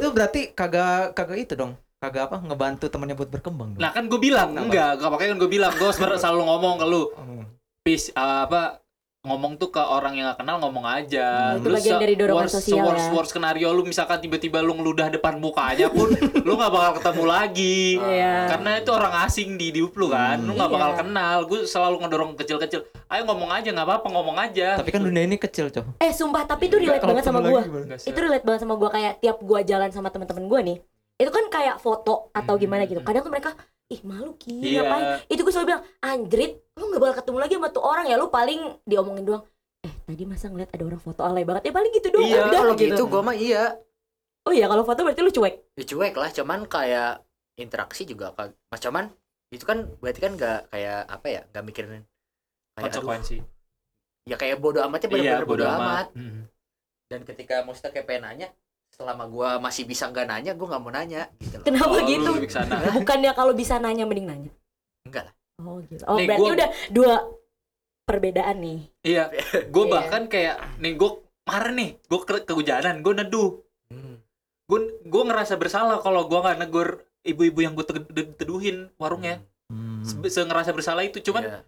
Itu berarti kagak kagak itu dong. Kagak apa ngebantu temannya buat berkembang dong.
nah kan gua bilang
Kenapa?
enggak nggak makanya kan gua bilang gua sel- selalu ngomong ke lu
Oh.
peace ah, apa ngomong tuh ke orang yang gak kenal ngomong aja
Hmm, itu bagian dari dorongan
worst,
sosial
worst,
ya.
worst skenario lu misalkan tiba-tiba lu ngeludah depan mukanya
(laughs)
pun lu nggak bakal ketemu lagi
Iya.
karena itu orang asing di diup lu kan lu nggak
Iya.
bakal kenal gue selalu ngedorong kecil-kecil ayo ngomong aja nggak apa-apa ngomong aja
Tapi kan dunia ini kecil, Cok.
Eh sumpah tapi itu relate
Kalau
banget sama
ketemu
gue.
lagi gimana?
Nggak se-
itu relate banget sama gue kayak tiap gue jalan sama teman-teman gue nih itu kan kayak foto atau gimana gitu kadang tuh mereka ih malu ki
Iya.
ngapain itu gue selalu bilang anjrit lu nggak bakal ketemu lagi sama tuh orang ya lu paling diomongin doang eh tadi masa ngeliat ada orang foto alay banget ya paling gitu doang
Iya,
udah
kalau
gitu.
gitu gua mah iya.
oh iya kalau foto berarti lu cuek
Ya cuek lah, cuman kayak interaksi juga kag- Mas cuman itu kan berarti kan enggak kayak apa ya, enggak mikirin kayak aduh,
konsekuensi
ya kayak bodo amatnya bener-bener
iya
bodo,
bodo
amat.
amat Mm.
dan ketika maksudnya kayak pengen nanya selama gua masih bisa nggak nanya gua nggak mau nanya gitu loh
(laughs) kenapa
Oh, lu
gitu
lebih ke sana.
bukannya kalau bisa nanya mending nanya
enggak lah
oh gitu oh
Nih,
berarti
gua-
udah dua perbedaan nih
iya gue
Iya.
bahkan kayak nih gue marah nih gue ke kehujanan gue neduh
Hmm.
gue gue ngerasa bersalah kalau gue nggak negur ibu-ibu yang gue teduhin warungnya
Hmm.
Se- se- ngerasa bersalah itu Ya, cuman
Iya.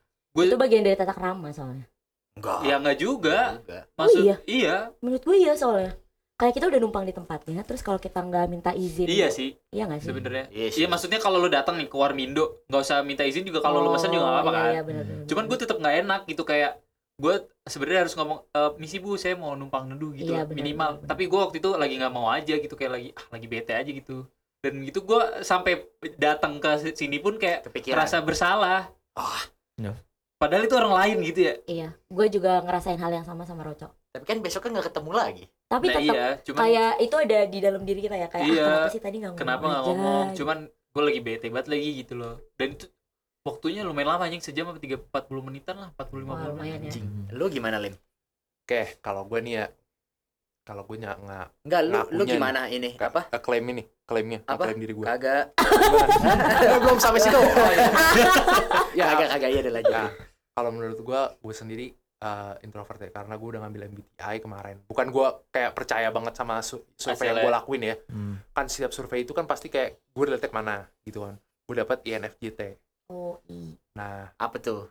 itu
gue
bagian dari tatak rama soalnya
enggak
ya nggak juga
Enggak.
maksud
iya.
iya
menurut gue iya soalnya kayak kita udah numpang di tempatnya terus kalau kita nggak minta izin
iya sih
iya nggak sih
sebenarnya
Iya sih.
iya maksudnya kalau lu datang nih ke Warmindo nggak usah minta izin juga kalau lu
Oh,
pesen juga nggak apa-apa
iya,
kan
iya, benar, benar,
cuman
benar.
gue tetap nggak enak gitu kayak gue sebenarnya harus ngomong e, misi bu saya mau numpang neduh gitu
Iya, benar,
minimal
benar, benar.
tapi gue waktu itu lagi nggak mau aja gitu kayak lagi ah lagi bete aja gitu dan gitu gue sampai datang ke sini pun kayak
kepikiran
merasa bersalah
Ah.
Ya.
No.
padahal itu orang lain gitu ya
Iya, gue juga ngerasain hal yang sama sama Roco.
tapi kan besoknya nggak ketemu lagi
Tapi
nah
tetap
iya cuman
kayak itu ada di dalam diri kita ya kayak
Iya.
ah, kenapa sih tadi nggak ngomong?
kenapa nggak
aja?"
ngomong
Gitu.
cuman gue lagi bete banget lagi gitu loh dan itu waktunya lumayan lama anjing sejam apa tiga empat puluh menitan lah empat puluh lima
Wah,
puluh
lumayan ya.
anjing lu gimana lim
Oke, kalau gue nih ya, kalau gue nggak nggak
Enggak, lu lu
Ngakunya
gimana ini apa
nggak klaim ini, klaimnya, nggak
Apa?
klaim diri
(laughs)
gue.
kagak Lu belum sampai situ (laughs) Oh, iya.
Ya,
kagak kagak iya ada lagi
Nah, kalau menurut gua, gue sendiri eh, introvert ya karena gue udah ngambil MBTI kemarin. Bukan gua kayak percaya banget sama su- survei yang gue
Hasilnya.
lakuin ya. Kan setiap survei itu kan pasti kayak gue related mana gitu kan. Gue dapat INFJT.
Oh, iya.
Nah,
apa tuh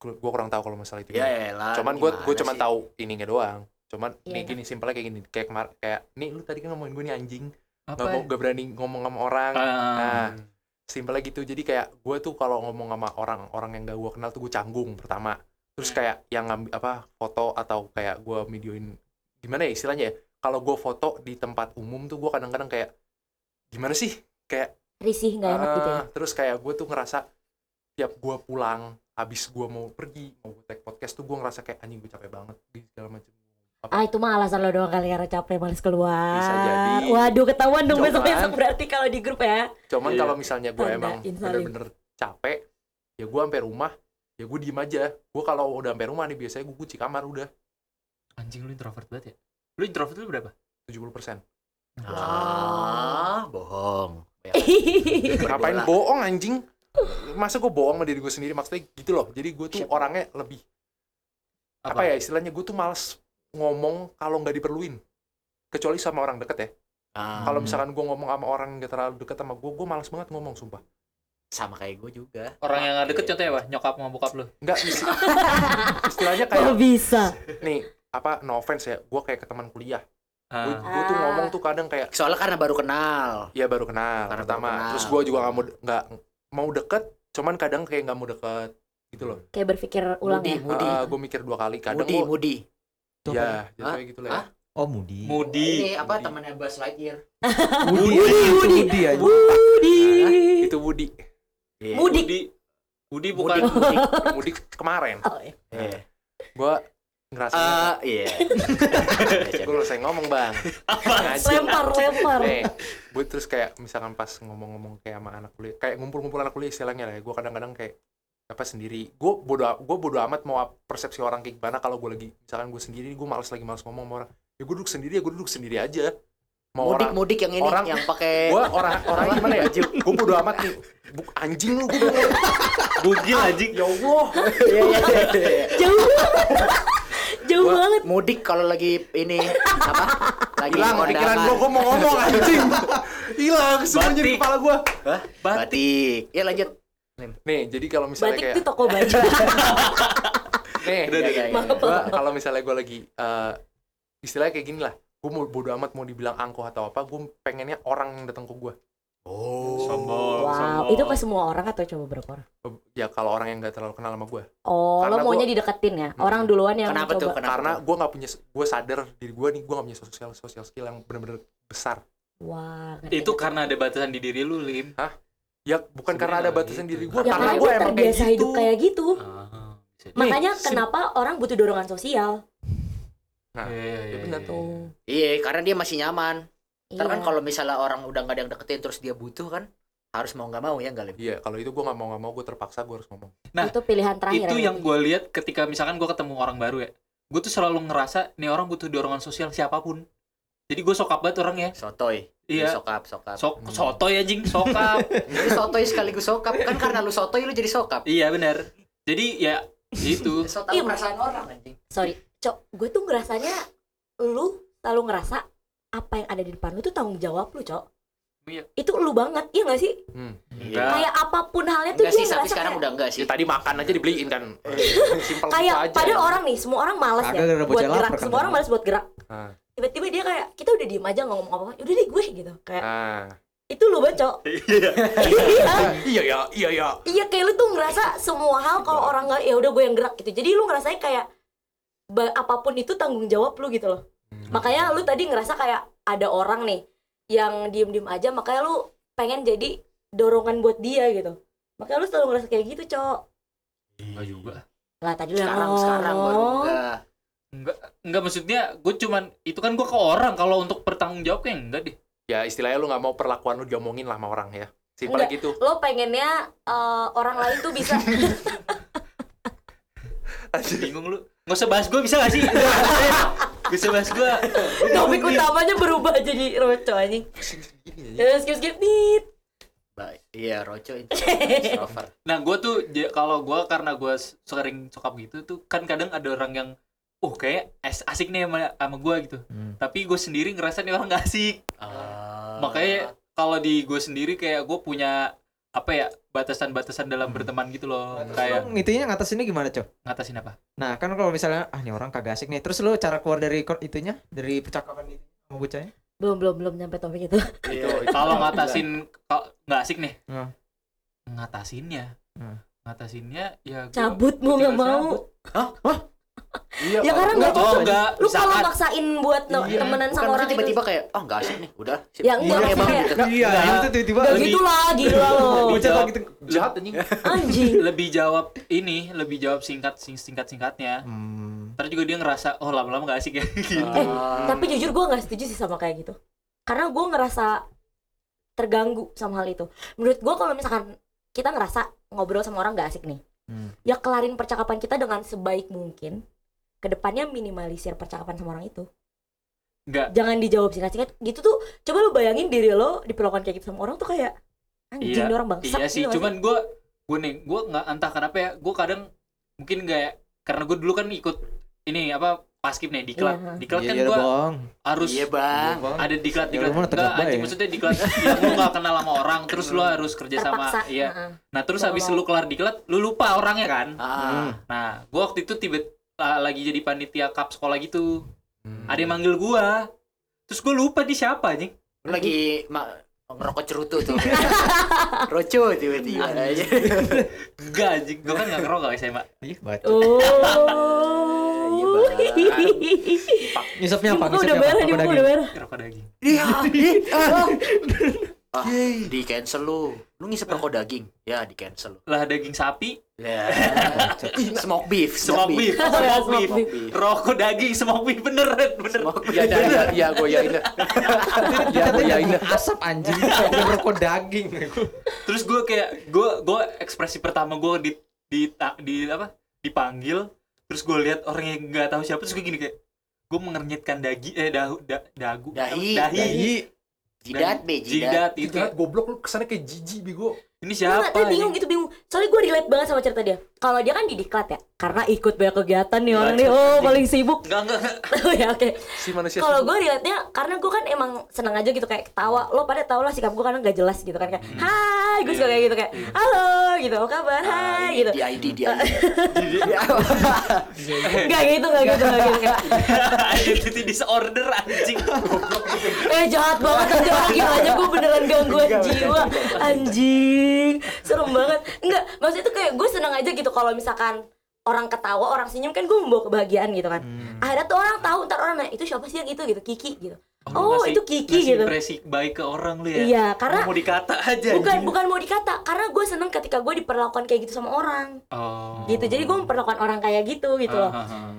gu- gua kurang tahu kalau masalah itu.
ya elah
cuman gue
gimana
gue cuman
sih?
tahu ininya doang. Cuman
Iya,
nih
nah.
gini simpelnya kayak gini kayak kemar- kayak nih lu tadi kan ngomongin gue nih anjing.
apa
Gak mau gak berani ngomong sama orang.
Ah,
Nah,
Hmm.
simpelnya gitu. Jadi kayak gue tuh kalau ngomong sama orang-orang yang gak gue kenal tuh gue canggung pertama. Terus
Hmm.
kayak yang ngambil apa foto atau kayak gue videoin gimana ya istilahnya ya. Kalau gue foto di tempat umum tuh gue kadang-kadang kayak gimana sih? Kayak
risih nggak enak gitu ya.
"Ah," terus kayak gue tuh ngerasa tiap gue pulang habis gue mau pergi mau gue take podcast tuh gue ngerasa kayak anjing gue capek banget di segala macam. Apa?
Ah itu mah alasan lo doang kali karena capek males keluar.
Bisa jadi.
Waduh ketahuan dong
Cuman-
besok besok berarti kalau di grup ya. (laughs)
Cuman
Iya.
kalau misalnya gue
Tandain
emang
salib.
bener-bener capek, ya gue sampai rumah, ya gue diem aja. Gue kalau udah sampai rumah nih biasanya gue kunci kamar udah
anjing lu introvert banget ya lu introvert lu berapa
70%.
ah (laughs) bohong Ya,
Ngapain
Bola.
bohong anjing? Masa gue bohong sama diri gue sendiri maksudnya gitu loh. Jadi gue tuh
Siap.
orangnya lebih apa, ya istilahnya gue tuh males ngomong kalau nggak diperluin. Kecuali sama orang deket ya.
Ah,
Kalau
Hmm.
misalkan gue ngomong sama orang yang gak terlalu deket sama gue, gue males banget ngomong sumpah.
sama kayak gue juga
orang yang gak deket
Iya.
contohnya apa nyokap sama bokap lu
Enggak
(laughs)
istilahnya
Kok
kayak
Oh, bisa?
nih apa no offense ya, gue kayak ke teman kuliah. Gue
Ah,
tuh
Ah.
ngomong tuh kadang kayak
soalnya karena baru kenal
Iya baru kenal
Karena
pertama.
baru kenal.
Terus gue juga nggak mau nggak mau deket, cuman kadang kayak nggak mau deket gitu loh.
Kayak berpikir ulang
Mudi,
ya.
Mudi.
gue mikir dua kali kadang
Mudi,
gue
Ah, Mudi.
ya jatuhnya gitu lah. ya.
Hah?
Oh Mudi.
Mudi
Iya.
Ini apa
Mudi.
temannya Buzz Lightyear?
Budi,
Mudi. Mudi aja.
Budi.
itu Budi.
Iya.
Mudi. Mudik.
Mudi Mudi bukan
Mudik, (laughs) mudik.
Mudik kemarin.
Oh, iya.
Iya.
Gue ngerasa
Eh,
(laughs)
iya.
gue selesai ngomong bang. Ngaji.
Lempar lempar.
Nih, gue terus kayak misalkan pas ngomong-ngomong kayak sama anak kuliah, kayak ngumpul-ngumpul anak kuliah istilahnya lah. ya. Gue kadang-kadang kayak apa sendiri. Gue bodo gue bodo amat mau ap- persepsi orang kayak gimana kalau gue lagi misalkan gue sendiri, gue males lagi males ngomong sama orang. Ya gue duduk sendiri ya gue duduk sendiri aja. Mau
Mudik,
orang
mudik yang ini
orang-
yang pakai
gue orang orang gimana ya? gue bodo amat nih. Buk anjing lu gue.
bugil anjing
ya Allah.
(laughs) Iya, iya, iya, iya.
Jauh. Jauh
Gua
banget.
mudik kalau lagi ini apa? Lagi
Hilang
kondangan.
pikiran gue, gue mau ngomong anjing. Hilang semuanya di
Batik.
kepala gue.
Hah? Batik. Ya lanjut.
Nih, jadi kalau misalnya
Batik
kayak
tuh toko baju.
nih,
Iya, iya, iya.
Maaf.
(laughs) gua kalau misalnya gue lagi eh, istilahnya kayak gini lah gue mau bodo amat mau dibilang angkuh atau apa gue pengennya orang yang datang ke gue
Oh.
sombong
wow.
sombong
Itu ke semua orang atau coba berapa orang?
ya kalau orang yang nggak terlalu kenal sama gue
Oh,
Karena
lo maunya
gua-
dideketin ya? Orang duluan yang
Kenapa tuh?
coba.
Kenapa?
karena
tuh?
gue nggak punya gue sadar diri gue nih gue nggak punya sosial sosial skill yang benar-benar besar
Wah. ngerti.
itu karena ada batasan di diri lu lim
ya bukan karena ada
Sebenarnya
batasan
gitu.
diri gue
Ya
karena
karena
gue
gue
emang kayak
terbiasa
gitu
hidup kayak gitu.
Ah, bisa jadi.
Makanya
sim-
kenapa orang butuh dorongan sosial?
Nah,
Iya, iya,
ya
iya,
bener
iya.
tuh.
Iya, karena dia masih nyaman. Ntar kan
Iya.
kalau misalnya orang udah nggak ada yang deketin terus dia butuh kan harus mau nggak mau ya nggak Lim?
iya kalau itu gue nggak mau nggak mau gue terpaksa gue harus ngomong
Nah,
itu pilihan terakhir
itu
ya.
yang gue lihat ketika misalkan gue ketemu orang baru ya gue tuh selalu ngerasa nih orang butuh dorongan sosial siapapun jadi gue sokap banget orang ya
Sotoy.
iya
Sokap, sokap.
sok sotoy anjing sokap
Jadi sotoy sekaligus sokap kan karena lu sotoy lu jadi sokap.
iya benar jadi ya itu
So tahu
Iya.
perasaan orang anjing.
sorry cok gue tuh ngerasanya lu selalu ngerasa apa yang ada di depan lu tuh tanggung jawab lu cok
Iya.
itu lu banget iya gak sih
hmm.
Enggak. Ah.
kayak apapun halnya
Iya.
tuh
Enggak sih,
dia
tapi
ngerasa
sekarang
kayak,
udah enggak sih.
ya tadi makan aja dibeliin kan simpel
kayak
gitu aja
padahal orang nih semua orang malas ya
Kagak gara-gara
buat
bocah
gerak
lapar kan
semua orang
tadi.
malas buat gerak
Ah.
tiba-tiba dia kayak kita udah diem aja nggak ngomong apa-apa udah deh gue gitu kayak
ah.
itu lu banget cok iya
iya ya iya ya
iya kayak lu tuh ngerasa semua hal kalau orang nggak ya udah gue yang gerak gitu jadi lu ngerasanya kayak ba- apapun itu tanggung jawab lu gitu loh makanya lu tadi ngerasa kayak ada orang nih yang diem-diem aja makanya lu pengen jadi dorongan buat dia gitu makanya lu selalu ngerasa kayak gitu cok
Enggak juga.
lah tadi lu yang
sekarang
ngomong.
sekarang
Oh.
baru enggak
Enggak, enggak maksudnya gue cuman itu kan gue ke orang kalau untuk bertanggung jawab kayak enggak deh.
ya istilahnya lu nggak mau perlakuan lu diomongin lah sama orang ya simpel
Enggak.
gitu
lo pengennya eh, orang lain tuh bisa
Bingung lu. Enggak usah bahas gue bisa gak sih? Gak usah bahas gue.
topik utamanya berubah jadi roco anjing terus skip skip tit
Baik. iya roco introvert, extrovert.
Nah gue tuh ja- kalau gue karena gue sering cokap gitu tuh kan kadang ada orang yang oh kayak as- asik nih sama, sama gue gitu.
Hmm.
Tapi gue sendiri ngerasa nih orang gak asik.
Ah.
Makanya kalau di gue sendiri kayak gue punya apa ya
Hmm.
batasan-batasan dalam berteman gitu loh. Kayak
Terus itunya ngatasinnya gimana, Cok?
ngatasin apa?
Nah, kan kalau misalnya ah ini orang kagak asik nih. Terus lu cara keluar dari kon- itunya, dari percakapan itu sama bocahnya?
belum belum belum nyampe topik itu
Iya, itu
kalau ngatasin kalau nggak asik nih
Hmm.
ngatasinnya
Hmm.
ngatasinnya ya gua
cabut mau nggak
tinggal
mau
cabut.
iya
ya karena nggak
oh
cocok
enggak
lu kalau
misalkan
maksain buat no-
Iya.
bukan
temenan sama
maksudnya
orang itu
tiba-tiba kayak ah nggak asik nih udah sip.
Ya, enggak,
Iya, emang
maksudnya
gitu.
Iya,
Enggak.
itu tiba-tiba
Gak
Lebih-
gitu lah, gila lo
Lebih
bocah
jawab-
gitu.
kan
jahat anjing
Iya.
Anjing
lebih jawab ini lebih jawab singkat sing- singkat singkatnya
Hmm.
ntar juga dia ngerasa oh lama-lama nggak asik ya gitu
Ah.
Tapi jujur gue gak setuju sih sama kayak gitu Karena gue ngerasa terganggu sama hal itu Menurut gue kalau misalkan kita ngerasa ngobrol sama orang gak asik nih
Hmm.
Ya kelarin percakapan kita dengan sebaik mungkin Kedepannya minimalisir percakapan sama orang itu
Nggak.
Jangan dijawab singkat-singkat Gitu tuh coba lu bayangin diri lo diperlakukan kayak gitu sama orang tuh kayak Anjing
Iya,
nih orang bangsat
iya sih
gitu gak
cuman gue gue nih gue nggak entah kenapa ya gue kadang mungkin nggak karena gue dulu kan ikut ini apa paskip nih diklat
Iya.
diklat
Iya,
kan
udah
gue
bohang.
harus
iya bang
Bohong.
ada diklat
Ya,
diklat
lu mah tegak
enggak anjing
baik.
maksudnya diklat yang lu gak kenal sama orang terus lu harus kerja sama
Terpaksa
iya
Heeh.
nah terus
Nggak
habis
mau.
lu kelar diklat lu lupa orangnya kan
ah.
nah gua waktu itu tiba la- lagi jadi panitia cup sekolah gitu
Hmm.
ada yang manggil gua terus gua lupa di siapa anjing
Lu lagi ma- ngerokok cerutu
(laughs)
tuh roco tiba-tiba
Nah, iya.
aja
enggak anjing gua kan gak ngerokok guys Mbak
Ih, bacot.
Iya,
Oh
Nyusupnya apa?
Gue
Nyusupnya
udah
apa?
merah nih,
Apa
gue
daging?
udah merah
ngerokok daging
iya ah, di cancel lu lu ngisep rokok daging ya di cancel lu
lah daging sapi
(laughs) smoke beef
smoke beef smoke beef
Smoke beef.
rokok daging smoke beef beneran bener
Smoke beef.
ya ya ya, ya gue yain dah. ya gue yain dah.
asap (laughs) anjing Udah rokok daging
terus gue kayak gue gue ekspresi pertama gue di di ta- di apa dipanggil terus gue lihat orang yang nggak tahu siapa terus gue gini kayak gue mengernyitkan daging eh dahu da- dagu
Dahi.
dahi,
jidat be jidat
jidat itu
Jahat, goblok lu kesannya kayak jijik bego
ini siapa
Enggak, gue bingung
ini?
gitu bingung. Soalnya gue relate banget sama cerita dia. Kalau dia kan di diklat ya, karena ikut banyak kegiatan nih orang nih. Oh paling sibuk.
enggak enggak enggak. (laughs)
(laughs) ya oke.
si manusia
Kalau
sibuk.
gue relate nya karena gue kan emang seneng aja gitu kayak ketawa. Lo pada tau lah sikap gue karena nggak jelas gitu kan kayak, Hai, gue suka kayak gitu kayak, halo gitu, apa kabar?
Ah,
Hai
ini
gitu.
(laughs) di ID di ID
Enggak gitu, enggak gitu, enggak gitu. Kayak,
identity disorder anjing
eh jahat banget aja lagi aja gue beneran gangguan jiwa anjing serem banget enggak maksudnya tuh kayak gue seneng aja gitu kalau misalkan orang ketawa orang senyum kan gue membawa kebahagiaan gitu kan akhirnya tuh orang tahu ntar orang nanya itu siapa sih yang itu gitu Kiki gitu oh,
Ngasih-
itu Kiki
ngasih
gitu
impresi baik ke orang lu ya
iya karena
mau dikata aja
bukan
anjing.
bukan mau dikata karena gue seneng ketika gue diperlakukan kayak gitu sama orang
oh.
gitu jadi gue memperlakukan orang kayak gitu gitu loh
Ah, ah, ah.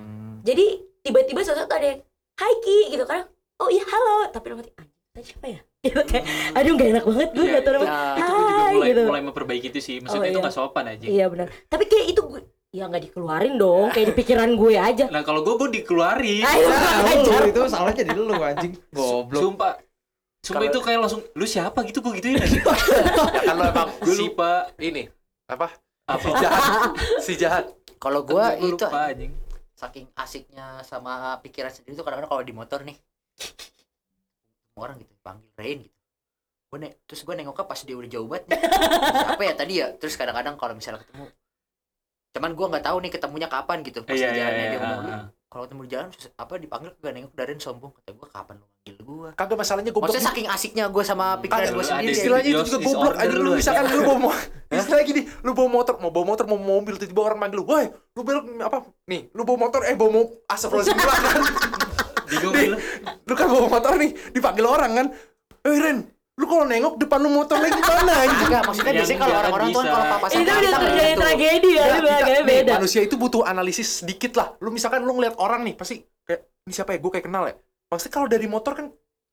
jadi tiba-tiba sesuatu ada yang hai Ki gitu kan oh iya halo tapi dalam hati anjing tadi siapa ya (laughs) gitu kayak aduh gak enak banget gue
Iya,
gak tau nama
Nah,
itu gue juga
hai
mulai,
gitu
mulai memperbaiki itu sih maksudnya
Oh,
itu
iya.
nggak sopan aja
iya benar tapi kayak itu gue ya nggak dikeluarin dong kayak di pikiran gue aja
nah kalau gue gue dikeluarin
ayo (laughs) ajar
Nah, itu salahnya di lu anjing Goblok
Sumpah. Sumpah
Kalau-
itu kayak langsung lu siapa gitu gua gituin aja.
ya kan lo emang
Gua
si
lupa
ini apa
apa.
si jahat si jahat
kalau gua
Gua
itu
lupa anjing.
saking asiknya sama pikiran sendiri tuh kadang-kadang kalau di motor nih semua orang gitu panggil Rain gitu gue ne- terus gue nengoknya pas dia udah jauh banget nih siapa ya tadi ya terus kadang-kadang kalau misalnya ketemu cuman gue nggak tahu nih ketemunya kapan gitu pas
Iya
di
iya
jalannya
iya.
dia ngomong
ah, ah.
kalau ketemu di jalan terus apa dipanggil gue nengok Darin sombong kata gue kapan lu gila gua
kagak masalahnya goblok
maksudnya saking asiknya gua sama pikiran
Ada-
gua
Hmm. ada
sendiri ya.
Iya, istilahnya itu
Dios
juga
is
goblok
order
aja
lu
lu
aja.
misalkan lu bawa mo- istilah gini lu bawa motor mau bawa motor mau mobil tiba-tiba orang manggil lu woi lu belok apa nih lu bawa motor eh bawa mo asap lu sebelah kan
Bingung
Nih, lu kan bawa motor nih dipanggil orang kan eh Ren lu kalau nengok depan lu motor lagi mana anjing
Enggak, maksudnya
Yang
biasanya kalau
jangan
orang-orang tuh kan
Iya, bisa.
kalau papasan
itu udah
pantang
terjadi
gitu.
tragedi ya,
Ya,
itu agaknya
kita- nih,
Iya.
beda
manusia itu butuh analisis sedikit lah lu misalkan lu ngeliat orang nih pasti kayak ini siapa ya gue kayak kenal ya pasti kalau dari motor kan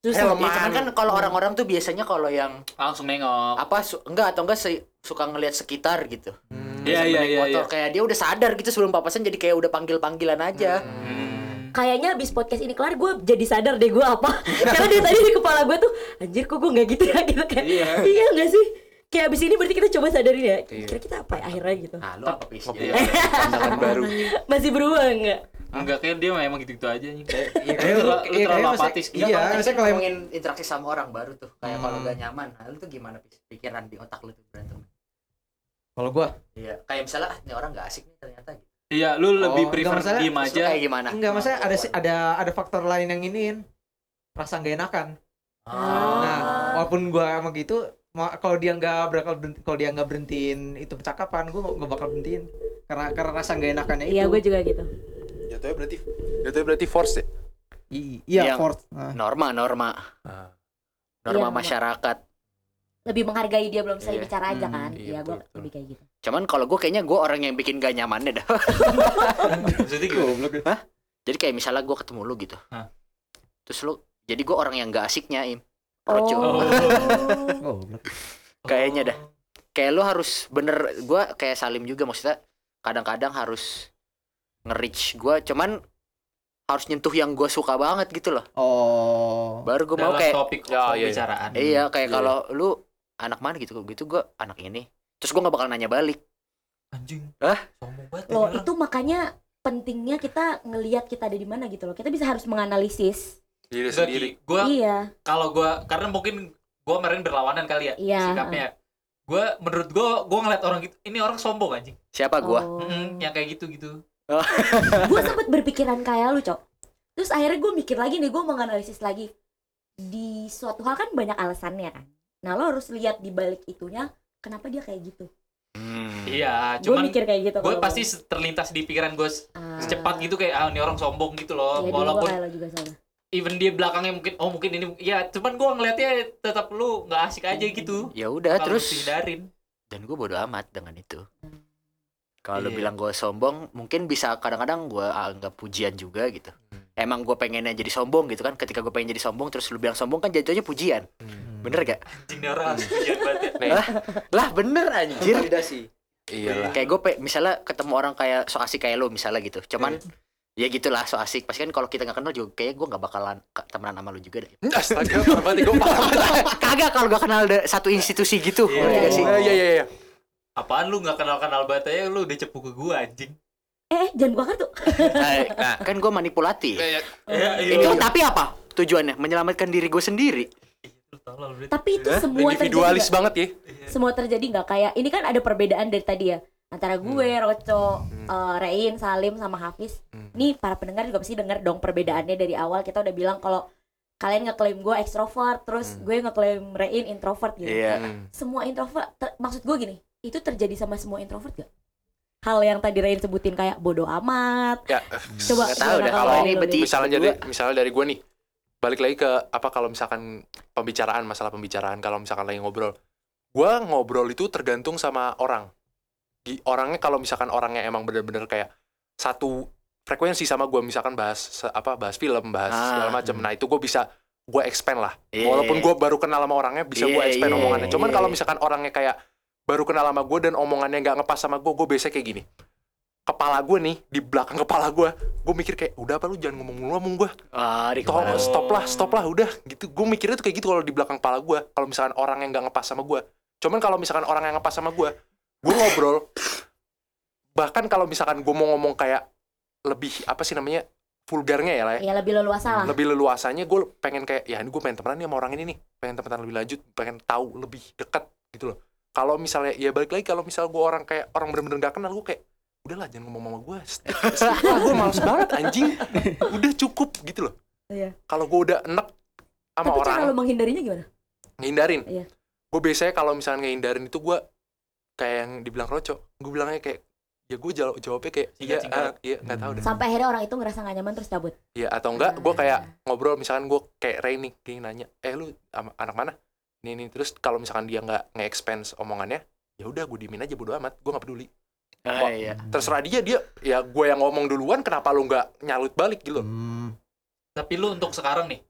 Susah.
helm
Ya, cuman kan kalau orang-orang tuh biasanya kalau yang
langsung nengok
apa su- enggak atau enggak se- suka ngelihat sekitar gitu.
iya iya iya
Motor
iya
kayak dia udah sadar gitu sebelum papasan jadi kayak udah panggil-panggilan aja.
Hmm.
kayaknya abis podcast ini kelar gue jadi sadar deh gue
(laughs)
apa karena dari tadi di kepala gue tuh anjir kok gue nggak gitu ya (laughs) gitu kayak
Iya.
iya nggak sih kayak abis ini berarti kita coba sadarin ya kira kita apa ya akhirnya gitu (laughs)
Nah, lu apa pis?
Ngopi.
(laughs) Jadi-
pandangan baru
Nah,
masih berubah nggak
enggak kayak dia emang gitu-gitu aja
Iya,
nih Lu
kayak-
terlalu- lu
iya,
terlalu
kayak masih-
apatis gitu.
Iya,
Kalau
maksudnya
misalnya
kalau yang
ngomongin interaksi sama orang baru tuh kayak kalau
Hmm.
gak nyaman, nah, lu tuh gimana Pis? pikiran di otak lu tuh berantem?
kalau gua
Iya, kayak misalnya ah, ini orang gak asik nih ternyata gitu.
iya lu lebih
enggak
prefer
masalah.
diem
Terus lu
aja
kayak gimana?
enggak maksudnya ada si-
Kemampuan.
ada ada faktor lain yang iniin rasa nggak enakan.
Ah.
Nah, walaupun gua emang gitu, ma- kalau dia nggak bakal berhenti- kalau dia nggak berhentiin itu percakapan, gua nggak- nggak bakal berhentiin karena karena rasa nggak enakannya itu.
iya gue juga gitu
jatuhnya berarti jatuhnya berarti force ya
I- iya,
Yang-
force. Nah,
norma, norma.
Ah.
Norma
Iya,
masyarakat.
lebih menghargai dia belum selesai
Iya.
bicara aja
Hmm,
kan
iya,
iya gue
betul, betul.
lebih kayak gitu
Cuman kalau gue kayaknya gue orang yang bikin gak nyamannya dah. (laughs)
maksudnya gitu
Jadi kayak misalnya gue ketemu lu gitu.
Hah.
Terus lu jadi gue orang yang gak asiknya im.
Oh.
Rojo. Kayaknya dah. Kayak lu harus bener gue kayak Salim juga maksudnya kadang-kadang harus nge-reach gue cuman harus nyentuh yang gue suka banget gitu loh.
Oh.
Baru gue mau
dalam
kayak
topik
Ya, iya, iya.
pembicaraan
iya kayak
iya.
kalau lu anak mana gitu gitu gue anak ini. Terus gue gak bakal nanya balik.
anjing
Hah?
sombong banget ini
loh
orang.
itu makanya pentingnya kita ngelihat kita ada di mana gitu loh kita bisa harus menganalisis
diri
Enggak, Ki.
(laughs) sendiri
gua
iya
kalau gua karena mungkin gua kemarin berlawanan kali ya
Iya,
sikapnya gua menurut gua gua ngeliat orang gitu ini orang sombong anjing
Siapa gue?
Oh.
Mm-mm, yang kayak gitu gitu
gue sempet berpikiran kayak lu cok terus akhirnya gue mikir lagi nih gue menganalisis lagi di suatu hal kan banyak alasannya kan nah lo harus lihat di balik itunya kenapa dia kayak gitu
Oh.
Hmm.
iya
gue
cuman
mikir kayak gitu
gue pasti se- terlintas di pikiran gue secepat gitu kayak ah ini orang sombong gitu
Iya,
loh walaupun
walaupun lo juga sama
even dia belakangnya mungkin oh mungkin ini ya cuman gue ngeliatnya tetap lu nggak asik aja
Iya.
gitu
Ya udah
Kalau
terus.
mesti hindarin
dan gue bodo amat dengan itu kalau
Iya.
bilang gue sombong mungkin bisa kadang-kadang gue anggap pujian juga gitu
Hmm.
emang gue pengennya jadi sombong gitu kan ketika gue pengen jadi sombong terus lu bilang sombong kan jatuhnya pujian
Hmm.
bener gak
anjing nih
Iya.
orang harus pujian banget ya.
lah bener anjir
Validasi.
iyalah
kayak gue misalnya ketemu orang kayak so asik kayak lo misalnya gitu cuman
Hmm.
ya gitulah so asik pasti kan kalau kita nggak kenal juga kayak gue nggak bakalan ke- temenan sama lu juga deh
Nah,
astaga berarti gue paham
kagak kalau gak kenal da- satu institusi gitu
Iya.
ngerti gak sih?
iya iya iya
apaan lu nggak kenal kenal banget aja lu udah cepu ke gue anjing
eh jangan buka kartu
(laughs) Nah, kan gue manipulatif
Iya, iya.
ya,
itu tapi apa tujuannya menyelamatkan diri gue sendiri
tapi itu semua terjadi
individualis
nggak?
banget ya
semua terjadi nggak kayak ini kan ada perbedaan dari tadi ya antara gue, Roco, eh, Rein, Salim sama Hafiz.
Hmm.
Nih para pendengar juga pasti denger dong perbedaannya dari awal kita udah bilang kalau kalian ngeklaim gue ekstrovert, terus
Hmm.
gue ngeklaim Rein introvert gitu.
iya
Semua introvert ter- maksud gue gini, itu terjadi sama semua introvert gak? Hal yang tadi Rein sebutin kayak bodoh amat.
ya
Nggak
Coba
tahu
gimana
deh,
kalau
kalau
Rein
ini
dulu
beti-
nih?
misalnya
kedua.
dari misalnya dari gue nih balik lagi ke apa kalau misalkan pembicaraan masalah pembicaraan kalau misalkan lagi ngobrol gue ngobrol itu tergantung sama orang Di- orangnya kalau misalkan orangnya emang bener-bener kayak satu frekuensi sama gue misalkan bahas se- apa bahas film bahas
Ah,
segala macam nah itu gue bisa gue expand lah
Iya.
walaupun gue baru kenal sama orangnya bisa gue
Iya,
expand
iya,
omongannya cuman
iya.
kalau misalkan orangnya kayak baru kenal sama gue dan omongannya nggak ngepas sama gue gue biasanya kayak gini kepala gue nih di belakang kepala gue gue mikir kayak udah apa lu jangan ngomong mulu sama gue
Ah, di
Tolong,
kepala gua.
stop lah stop lah udah gitu gue mikirnya tuh kayak gitu kalau di belakang kepala gue kalau misalkan orang yang nggak ngepas sama gue cuman kalau misalkan orang yang ngepas sama gue gue ngobrol bahkan kalau misalkan gue mau ngomong kayak lebih apa sih namanya vulgarnya ya lah ya
Ya lebih leluasa lah.
lebih leluasannya gue pengen kayak ya ini gue pengen temenan nih sama orang ini nih pengen temenan lebih lanjut pengen tahu lebih dekat gitu loh kalau misalnya ya balik lagi kalau misal gue orang kayak orang bener-bener gak kenal gue kayak udahlah jangan ngomong sama gue gue males banget anjing udah cukup gitu loh
Iya.
kalau gue udah enek sama
Tapi
orang
cara lo menghindarinya gimana?
ngehindarin
Iya.
gue biasanya kalau misalnya ngehindarin itu gue kayak yang dibilang roco gue bilangnya kayak ya gue jawab jawabnya kayak iya
Singkat-singkat.
ah, iya nggak tahu deh
Sampai akhirnya orang itu ngerasa gak nyaman terus cabut.
Iya atau enggak gue kayak ngobrol misalkan gue kayak Reni dia nanya eh lu ama- anak mana ini ini terus kalau misalkan dia nggak nge-expense omongannya ya udah gue diemin aja bodo amat gue nggak peduli
Ah,
Wah.
iya.
Hmm.
terserah dia dia ya gue yang ngomong duluan kenapa lu nggak nyalut balik gitu loh
Hmm.
Tapi lu untuk sekarang nih,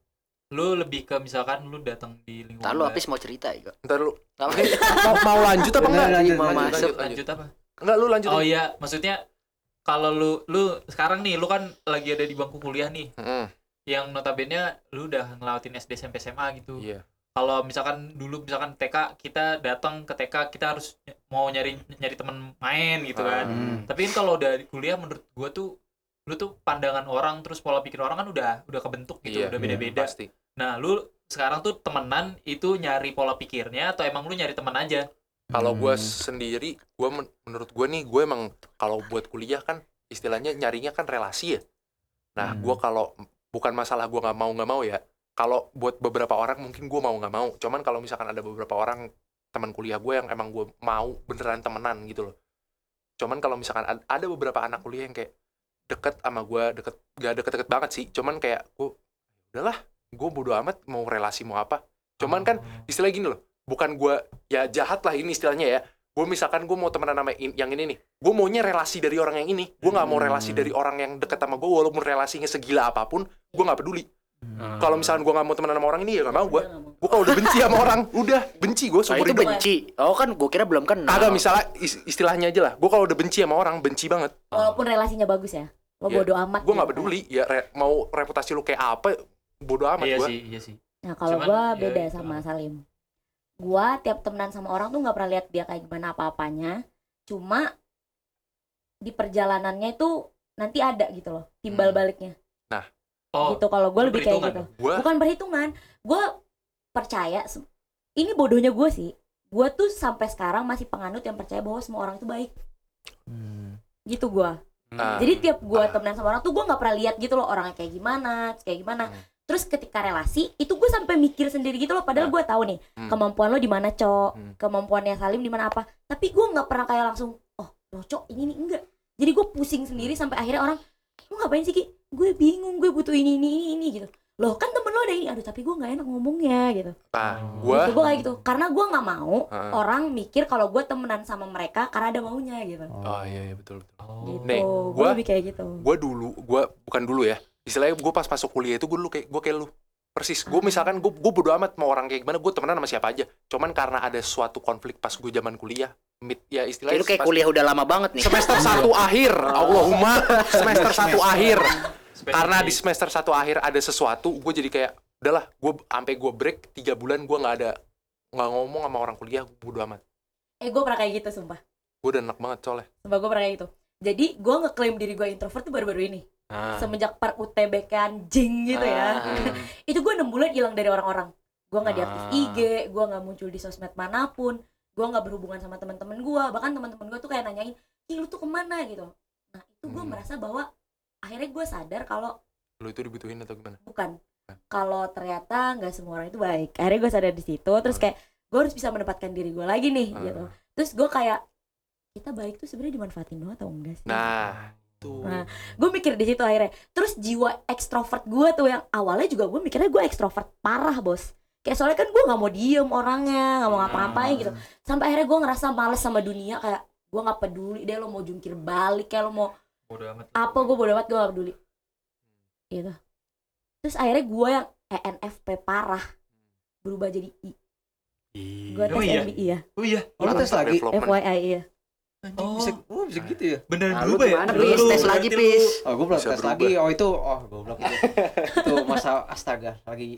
lu lebih ke misalkan lu datang di lingkungan.
Ntar lu
baru.
habis mau cerita ya.
ntar lu
Sama
mau, mau lanjut apa
Bener,
enggak
lanjut,
Mau
lanjut,
masuk,
lanjut apa?
enggak lu lanjut
Oh iya, maksudnya kalau lu lu sekarang nih lu kan lagi ada di bangku kuliah nih,
Mm,
yang notabene lu udah ngelawatin SD SMP SMA gitu.
iya
Kalau misalkan dulu misalkan TK kita datang ke TK kita harus ny- mau nyari nyari teman main gitu kan.
Hmm. Ah.
Tapi kan kalau udah di kuliah menurut gua tuh lu tuh pandangan orang terus pola pikir orang kan udah udah kebentuk gitu,
Iya,
udah
iya,
beda-beda.
pasti
Nah, lu sekarang tuh temenan itu nyari pola pikirnya atau emang lu nyari teman aja?
kalau gue sendiri gue menurut gue nih gue emang kalau buat kuliah kan istilahnya nyarinya kan relasi ya nah
Hmm.
gue kalau bukan masalah gue nggak mau nggak mau ya kalau buat beberapa orang mungkin gue mau nggak mau cuman kalau misalkan ada beberapa orang teman kuliah gue yang emang gue mau beneran temenan gitu loh cuman kalau misalkan ad- ada beberapa anak kuliah yang kayak deket sama gue deket gak deket-deket banget sih cuman kayak gue udahlah gue bodo amat mau relasi mau apa cuman kan istilah gini loh bukan gue ya jahat lah ini istilahnya ya gue misalkan gue mau temenan sama in- yang ini nih gue maunya relasi dari orang yang ini gue nggak mau relasi dari orang yang deket sama gue walaupun relasinya segila apapun gue nggak peduli kalau misalkan gue nggak mau temenan sama orang ini ya nggak mau
Iya.
gue gue kalau udah benci sama orang udah benci gue
So,
seumur
Nah, itu
hidup
benci. Oh kan gue kira belum kenal.
kagak misalnya is- istilahnya aja lah gue kalau udah benci sama orang benci banget
Walaupun relasinya bagus ya. Lo
Iya.
bodo amat.
gue nggak
gitu.
peduli ya re- mau reputasi lu kayak apa bodo amat
Iya
gue
sih, iya sih.
Nah kalau
Cuman,
gue
ya,
beda
itu.
sama Salim Gue tiap temenan sama orang tuh nggak pernah lihat dia kayak gimana apa-apanya Cuma di perjalanannya itu nanti ada gitu loh Timbal
Hmm.
baliknya
Oh,
gitu Kalau gue
itu
lebih kayak
perhitungan
gitu
gue
Bukan perhitungan Gue percaya se- Ini bodohnya gue sih Gue tuh sampai sekarang masih penganut yang percaya bahwa semua orang itu baik Gitu gue jadi tiap gue
Ah.
temenan sama orang tuh gue nggak pernah lihat gitu loh orangnya kayak gimana, terus kayak gimana.
Hmm.
Terus ketika relasi itu gue sampai mikir sendiri gitu loh. Padahal gue tahu nih
Hmm.
kemampuan lo di mana cok,
Hmm.
kemampuannya Salim di mana apa. Tapi gue nggak pernah kayak langsung oh lo cok ini nih enggak. Jadi gue pusing sendiri sampai akhirnya orang lu ngapain sih ki? Gue bingung, gue butuh ini ini ini ini gitu. Loh kan temen lo ada ini, aduh tapi gue nggak enak ngomongnya gitu.
gue
Gitu, gue kayak gitu, karena gue nggak mau
Ah.
orang mikir kalau gue temenan sama mereka karena ada maunya gitu.
oh iya iya, betul betul
Oh.
Gitu,
Nih,
gue
gua-
lebih kayak gitu.
gue dulu gue bukan dulu ya istilahnya gue pas masuk kuliah itu gue dulu kayak gue kayak lu persis gue misalkan gue gue bodo amat mau orang kayak gimana gue temenan sama siapa aja cuman karena ada suatu konflik pas gue zaman kuliah mid ya istilahnya
Kayak lu kayak
pas-
kuliah udah lama banget nih.
semester satu akhir Allahumma Iya. Oh. semester satu akhir
Spesifik.
karena di semester satu akhir ada sesuatu gue jadi kayak udahlah gue sampai gue break tiga bulan gue nggak ada nggak ngomong sama orang kuliah gue bodo amat
Eh gue pernah kayak gitu sumpah.
gue udah enak banget soalnya
Sumpah gue pernah kayak gitu. Jadi gue ngeklaim diri gue introvert tuh baru-baru ini.
Ah.
Semenjak per UTBK anjing gitu ya.
Hmm.
Itu gue 6 bulan hilang dari orang-orang. Gue nggak diaktif
Ah.
IG, gue nggak muncul di sosmed manapun. Gue nggak berhubungan sama teman-teman gue. Bahkan teman-teman gue tuh kayak nanyain, Ih lu tuh kemana gitu. Nah itu gue
Hmm.
merasa bahwa akhirnya gue sadar kalau
lu itu dibutuhin atau gimana
bukan kalau ternyata nggak semua orang itu baik akhirnya gue sadar di situ terus kayak gue harus bisa menempatkan diri gue lagi
Ah.
nih
Iya.
gitu terus gue kayak kita baik tuh sebenarnya dimanfaatin doang atau enggak sih
nah
gitu.
tuh
Nah, gue mikir di situ akhirnya terus jiwa ekstrovert gue tuh yang awalnya juga gue mikirnya gue ekstrovert parah bos kayak soalnya kan gue nggak mau diem orangnya nggak mau ngapa-ngapain gitu sampai akhirnya gue ngerasa males sama dunia kayak gue nggak peduli deh lo mau jungkir balik kayak lo mau
Bodo amat.
apa gue bodo amat gue gak peduli gitu terus akhirnya gue yang E ENFP parah berubah jadi I gue tes
Emang iya?
MBI ya
Oh iya,
Oh, lu tes lagi?
development
FYI iya
Anjing, bisa, oh, bisa gitu ya?
beneran
Nah, lu
berubah ya?
gimana,
Lu-
Pis?
lu-
Tes lagi,
berarti lu-
Pis.
Oh, gue belum
Bisa
tes
berubah.
lagi. Oh, itu oh, goblok
(laughs)
itu. itu masa astaga lagi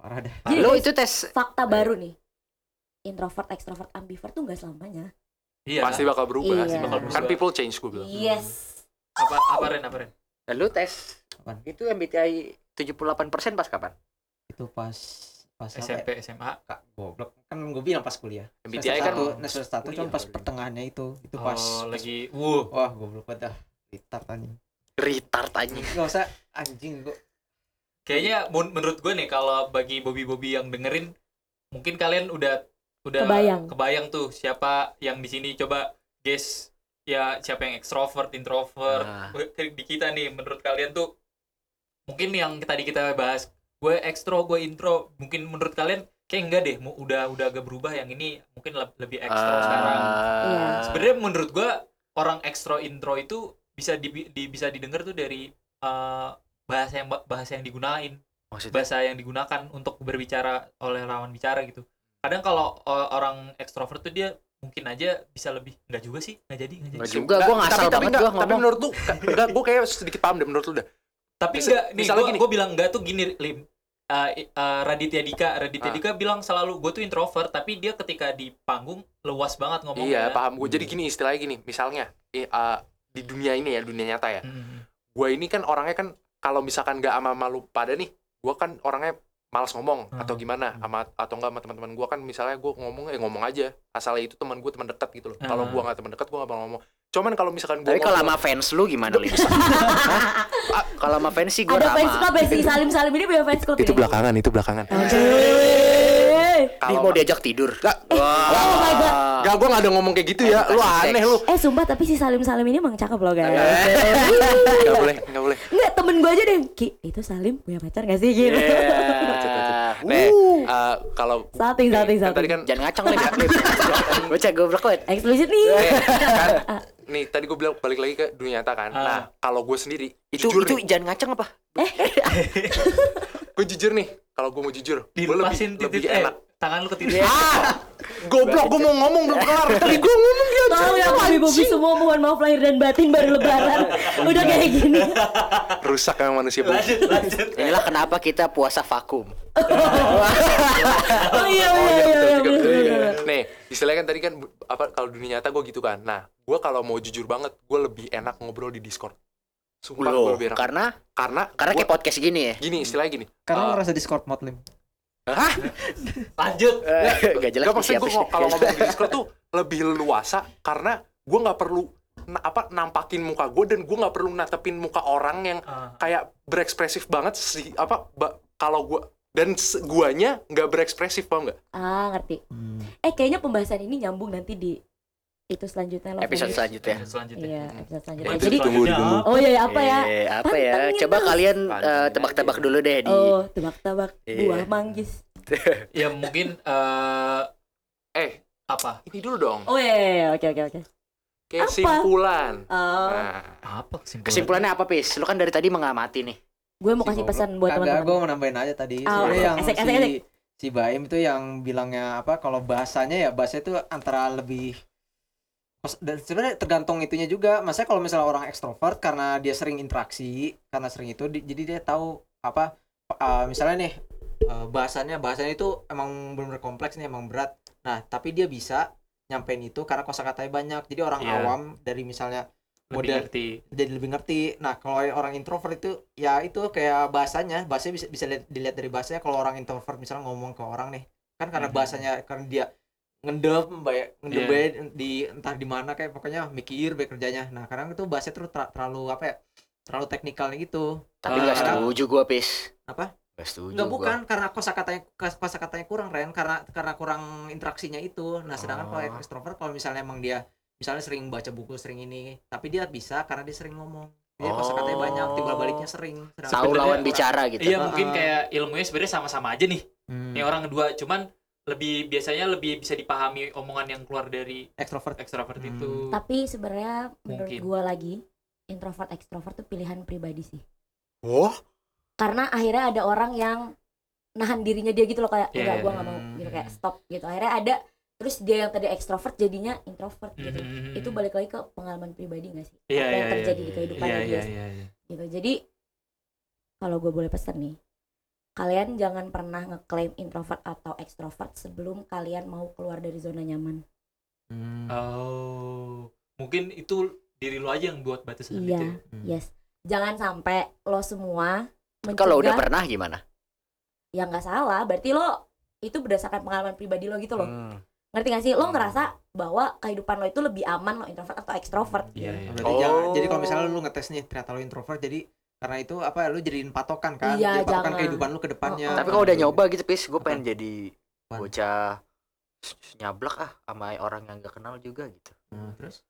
parah dah.
Jadi
Lu
guys,
itu tes
fakta baru nih introvert extrovert ambivert tuh nggak selamanya
Iya.
pasti bakal berubah
Iya.
sih.
Bakal
kan
berubah.
people change gue bilang
yes
Apa apa Ren, apa Ren?
lu tes
Apaan?
itu MBTI 78% pas kapan?
Itu pas pas apa ya?
SMP, SMA.
Kak, goblok. Kan gue bilang pas kuliah. Semester
MBTI kan
satu- nah, semester satu
kuliah
cuma pas
baru.
pertengahannya itu. Itu pas.
Oh, lagi wuh.
Wah,
(laughs)
goblok banget dah. Retard anjing.
Retard anjing.
Gak usah anjing gue.
kayaknya mun- menurut gue nih kalau bagi Bobby-Bobby yang dengerin mungkin kalian udah udah
Kebayang.
kebayang tuh siapa yang di sini coba guess ya siapa yang ekstrovert introvert
Nah,
di kita nih menurut kalian tuh mungkin yang tadi kita bahas gue ekstro gue intro mungkin menurut kalian kayak enggak deh mu- udah udah agak berubah yang ini mungkin le- lebih ekstro
Ah.
eh,
sekarang
Iya.
sebenarnya menurut gua orang ekstro intro itu bisa di, di- bisa didengar tuh dari eh, bahasa yang bahasa yang digunain
maksudnya
bahasa yang digunakan untuk berbicara oleh lawan bicara gitu kadang kalau eh, orang ekstrovert tuh dia mungkin aja bisa lebih nggak juga sih nggak jadi nggak
nggak
jadi
juga gue ngasal
tapi,
banget
enggak,
gue
Tapi
ngomong
menurut lu, ka- enggak, gue kayak sedikit paham deh menurut lu dah.
tapi
Misal-
enggak nih
misalnya
gua,
gini.
gua bilang enggak tuh gini lim Eh, i- eh, Raditya Dika Raditya
Ah.
Dika bilang selalu gue tuh introvert tapi dia ketika di panggung luas banget
Iya,
ngomongnya
paham gue. Jadi gini istilahnya gini, misalnya i- eh, di dunia ini ya, dunia nyata ya.
Mm.
Gue ini kan orangnya kan kalau misalkan nggak sama malu pada nih, gue kan orangnya malas ngomong
Hmm.
atau gimana sama atau enggak sama teman-teman gue kan misalnya gue ngomong ya ngomong aja asalnya itu teman gue teman dekat gitu loh kalau
Hmm.
gue nggak teman dekat gue nggak bakal ngomong cuman kalau misalkan gue
tapi kalau sama fans lu gimana
(laughs)
Lim? Hah? Ah, kalau sama fans sih gue
Ada fans
ramah
club ya si Salim Salim ini punya fans club.
itu
ya?
belakangan itu belakangan
Anjir.
Lim mau diajak tidur
Nggak.
Oh my God.
Gak, gue gak ada ngomong kayak gitu ya. Lu
Edukasi
aneh
seks.
lu.
Eh sumpah tapi si Salim Salim ini emang cakep loh guys.
Gak boleh, gak (laughs) boleh.
Enggak temen gue aja deh. Ki itu Salim punya pacar gak sih
Iya,
gitu.
Yeah.
Nih, eh, kalau
Salting
kan tadi
salting salting.
kan
Jangan ngacang nih, Bocah goblok banget.
Eksplisit nih.
eh, kan, nih tadi gue bilang balik lagi ke dunia nyata kan.
Ah.
Nah, kalau gue sendiri
Itu
jujur
itu
nih,
jangan ngacang apa?
gue jujur nih. Kalau gue mau jujur, gue
dilepasin
lebih,
titik
lebih
E.
eh,
enak.
tangan lu ke titik Eh,
Ah, goblok gue mau ngomong belum (laughs) kelar. Tadi gue ngomong dia.
Tolong ya Bobby Bobby semua mohon maaf lahir dan batin baru
(laughs)
lebaran. Udah kayak gini.
Rusak emang manusia bu. Oh,
iya,
iya,
lanjut lanjut
Inilah kenapa kita puasa vakum.
Oh iya
Oh iya betul juga,
iya iya iya. bener,
betul
bener,
juga.
bener.
Nih, istilahnya kan tadi kan bu- apa kalau dunia nyata gue gitu kan. Nah, gue kalau mau jujur banget, gue lebih enak ngobrol di Discord. Sumpah gue
Loh,
lebih enak.
karena
Karena
karena
gua-
kayak podcast gini ya.
gini istilahnya gini.
Karena
Eh,
ngerasa Discord mod lim.
lanjut
Eh,
(laughs) Gak jelas
Gak maksud
siapa
gue
sih.
(laughs) kalau ngomong di Discord tuh lebih luasa karena gue nggak perlu na- apa nampakin muka gue dan gue nggak perlu natepin muka orang yang
Ah.
kayak berekspresif banget sih apa ba- kalau gue dan se- guanya nggak berekspresif paham nggak?
Ah ngerti. Eh kayaknya pembahasan ini nyambung nanti di itu selanjutnya
(laughs)
love
episode
language.
selanjutnya.
selanjutnya
Iya episode selanjutnya.
Episode
Jadi
tunggu,
selanjutnya
ditunggu.
apa?
oh iya iya, apa ya?
Eh, apa ya?
Pantengin
Coba
terus.
kalian eh,
Pantengin
tebak-tebak
aja.
dulu deh di
Oh tebak-tebak
Iya.
buah manggis.
ya mungkin eh
Eh
apa
ini dulu dong
Oh iya, iya, iya, oke oke oke.
kesimpulan.
Eh,
Nah,
apa kesimpulan
Kesimpulannya apa, Pis? Lu kan dari tadi mengamati nih.
gue mau kasih pesan buat
Kagak, gue
teman-teman.
mau nambahin aja tadi.
Oh,
Sebenarnya yang
esek,
si,
esek, esek.
si Baim itu yang bilangnya apa? Kalau bahasanya ya bahasanya itu antara lebih dan sebenarnya tergantung itunya juga. Maksudnya kalau misalnya orang ekstrovert karena dia sering interaksi, karena sering itu, di- jadi dia tahu apa? eh, misalnya nih eh, bahasannya bahasanya itu emang benar-benar kompleks nih, emang berat. Nah, tapi dia bisa nyampein itu karena kosakatanya banyak. Jadi orang
Iya.
awam dari misalnya
lebih
Model.
ngerti
jadi lebih ngerti. Nah, kalau orang introvert itu ya itu kayak bahasanya, bahasanya bisa bisa lihat- dilihat dari bahasanya kalau orang introvert misalnya ngomong ke orang nih. Kan karena
Mhm.
bahasanya karena dia ngendem bay- ngendem
Iya.
bay di entah di mana kayak pokoknya mikir baik kerjanya. Nah, kadang itu bahasanya terus ter- terlalu apa ya? Terlalu teknikal gitu.
Tapi
Ah.
nggak setuju gua, Pis.
Apa?
Gak setuju
Enggak
gua.
bukan karena kosakatanya kosakatanya kurang Ren karena karena kurang interaksinya itu. Nah, sedangkan kalau
Oh.
extrovert kalau misalnya emang dia misalnya sering baca buku sering ini, tapi dia bisa karena dia sering ngomong. Dia
Oh.
kosakatanya banyak, timbal baliknya sering. Sedangkan
Tahu
dia
lawan
kurang.
bicara gitu.
iya
Ah,
mungkin
ah.
kayak ilmunya sebenarnya sama-sama aja nih
Hmm.
yang orang kedua cuman lebih biasanya lebih bisa dipahami omongan yang keluar dari
Extrovert.
ekstrovert
Hmm.
itu
Tapi sebenarnya menurut
Mungkin.
gue lagi introvert ekstrovert tuh pilihan pribadi sih.
wah
Karena akhirnya ada orang yang nahan dirinya dia gitu loh kayak
Iya,
enggak
iya,
gue nggak mau gitu kayak stop gitu. Akhirnya ada terus dia yang tadi ekstrovert jadinya introvert gitu.
Mhm.
Itu balik lagi ke pengalaman pribadi gak sih?
Iya,
Apa
iya,
yang
iya.
terjadi di kehidupan
iya
dia
iya iya iya.
gitu jadi kalau gue boleh pesan nih kalian jangan pernah ngeklaim introvert atau ekstrovert sebelum kalian mau keluar dari zona nyaman
Hmm,
oh mungkin itu diri lo aja yang buat batasan
iya
gitu ya.
hmm.
yes jangan sampai lo semua mencegah
Kalau udah pernah gimana?
ya nggak salah berarti lo itu berdasarkan pengalaman pribadi lo
Hmm.
gitu loh ngerti gak sih lo ngerasa bahwa kehidupan lo itu lebih aman lo introvert atau ekstrovert
iya iya
Berarti
Oh.
jangan- jadi kalau misalnya lu ngetes nih ternyata lu introvert jadi karena itu apa lu jadiin patokan kan
Iya,
jadi patokan
jangan.
kehidupan lu ke depannya
Tapi kalau udah nyoba gitu, Pis, gue pengen jadi
Apaan?
bocah s- s- nyablak ah sama orang yang gak kenal juga gitu.
Nah, terus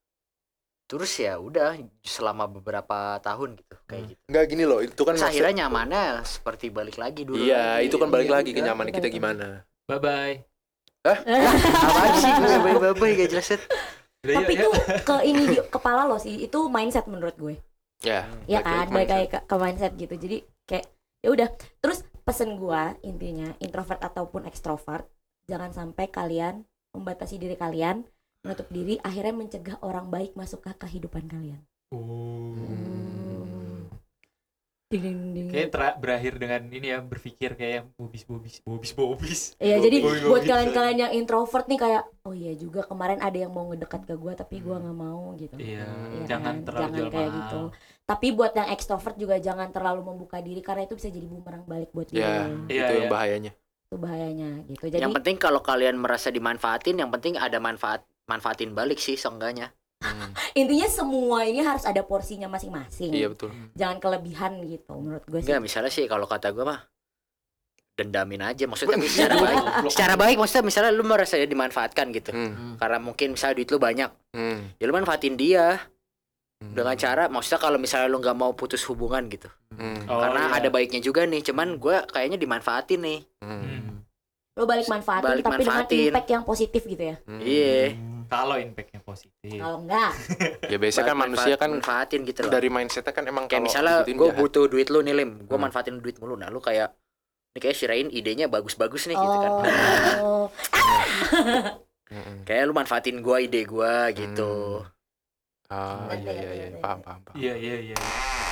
Terus ya udah selama beberapa tahun gitu, kayak
Hmm.
gitu.
Enggak gini loh, itu
Terus
kan maksud-
akhirnya nyamannya seperti balik lagi dulu.
Iya,
lagi.
itu kan balik
Iya,
lagi ke
udah,
nyaman
udah,
kita
udah.
gimana.
Bye bye.
(laughs) Apaan sih gue babai-babai gak jelas Set.
tapi itu ke ini di kepala lo sih itu mindset menurut gue
Ya.
ya
balik lagi
kan balik lagi ke,
ke mindset.
ke mindset gitu jadi kayak ya udah terus pesen gua intinya introvert ataupun ekstrovert jangan sampai kalian membatasi diri kalian menutup diri akhirnya mencegah orang baik masuk ke kehidupan kalian
Oh.
Hmm.
ding ding ding
Kayak ter- berakhir dengan ini ya berpikir kayak yang bobis bobis bobis bobis.
Iya jadi
Bobis,
buat
bobis.
kalian-kalian yang introvert nih kayak oh iya juga kemarin ada yang mau ngedekat ke gua tapi gua nggak mau gitu.
Hmm. Iya,
Hmm.
Iya
jangan
kan?
terlalu
Jangan
jual
kayak
mahal.
gitu. Tapi buat yang ekstrovert juga jangan terlalu membuka diri karena itu bisa jadi bumerang balik buat
gitu.
dia.
Ya,
Iya,
itu yang
iya.
bahayanya.
Itu bahayanya gitu. Jadi
Yang penting kalau kalian merasa dimanfaatin, yang penting ada manfaat manfaatin balik sih seenggaknya.
Hmm.
intinya semua ini harus ada porsinya masing-masing.
Iya betul.
Jangan kelebihan gitu menurut
Iya
gue sih.
Enggak, misalnya sih kalau kata gue mah dendamin aja maksudnya tapi
Bener.
secara
(laughs)
baik secara baik maksudnya misalnya lu merasa dimanfaatkan gitu
Hmm.
karena mungkin misalnya duit lu banyak
Hmm.
ya lu manfaatin dia
Hmm.
dengan cara maksudnya kalau misalnya lu nggak mau putus hubungan gitu
Hmm.
Oh,
karena
iya.
ada baiknya juga nih cuman gue kayaknya dimanfaatin nih
Hmm.
Hmm.
Lo balik manfaatin
Balik
tapi
manfaatin.
dengan impact yang positif gitu ya.
Hmm.
iya
Kalau impactnya positif.
Kalau enggak,
Ya biasanya kan
Manfaat-
manusia kan
manfaatin gitu loh
dari mindsetnya kan emang
kayak
kalau
misalnya
diikutin
gue
jahat.
butuh duit lu nih lim gue
Hmm.
manfaatin duit mulu nah lu kayak ini kayak Shirain idenya bagus-bagus nih gitu kan
oh,
Mm-mm.
(laughs) kayak lu manfaatin gua ide gua gitu
Ah,
Ngerti,
iya
ngerti,
iya iya,
ngerti.
paham paham paham.
Iya iya iya.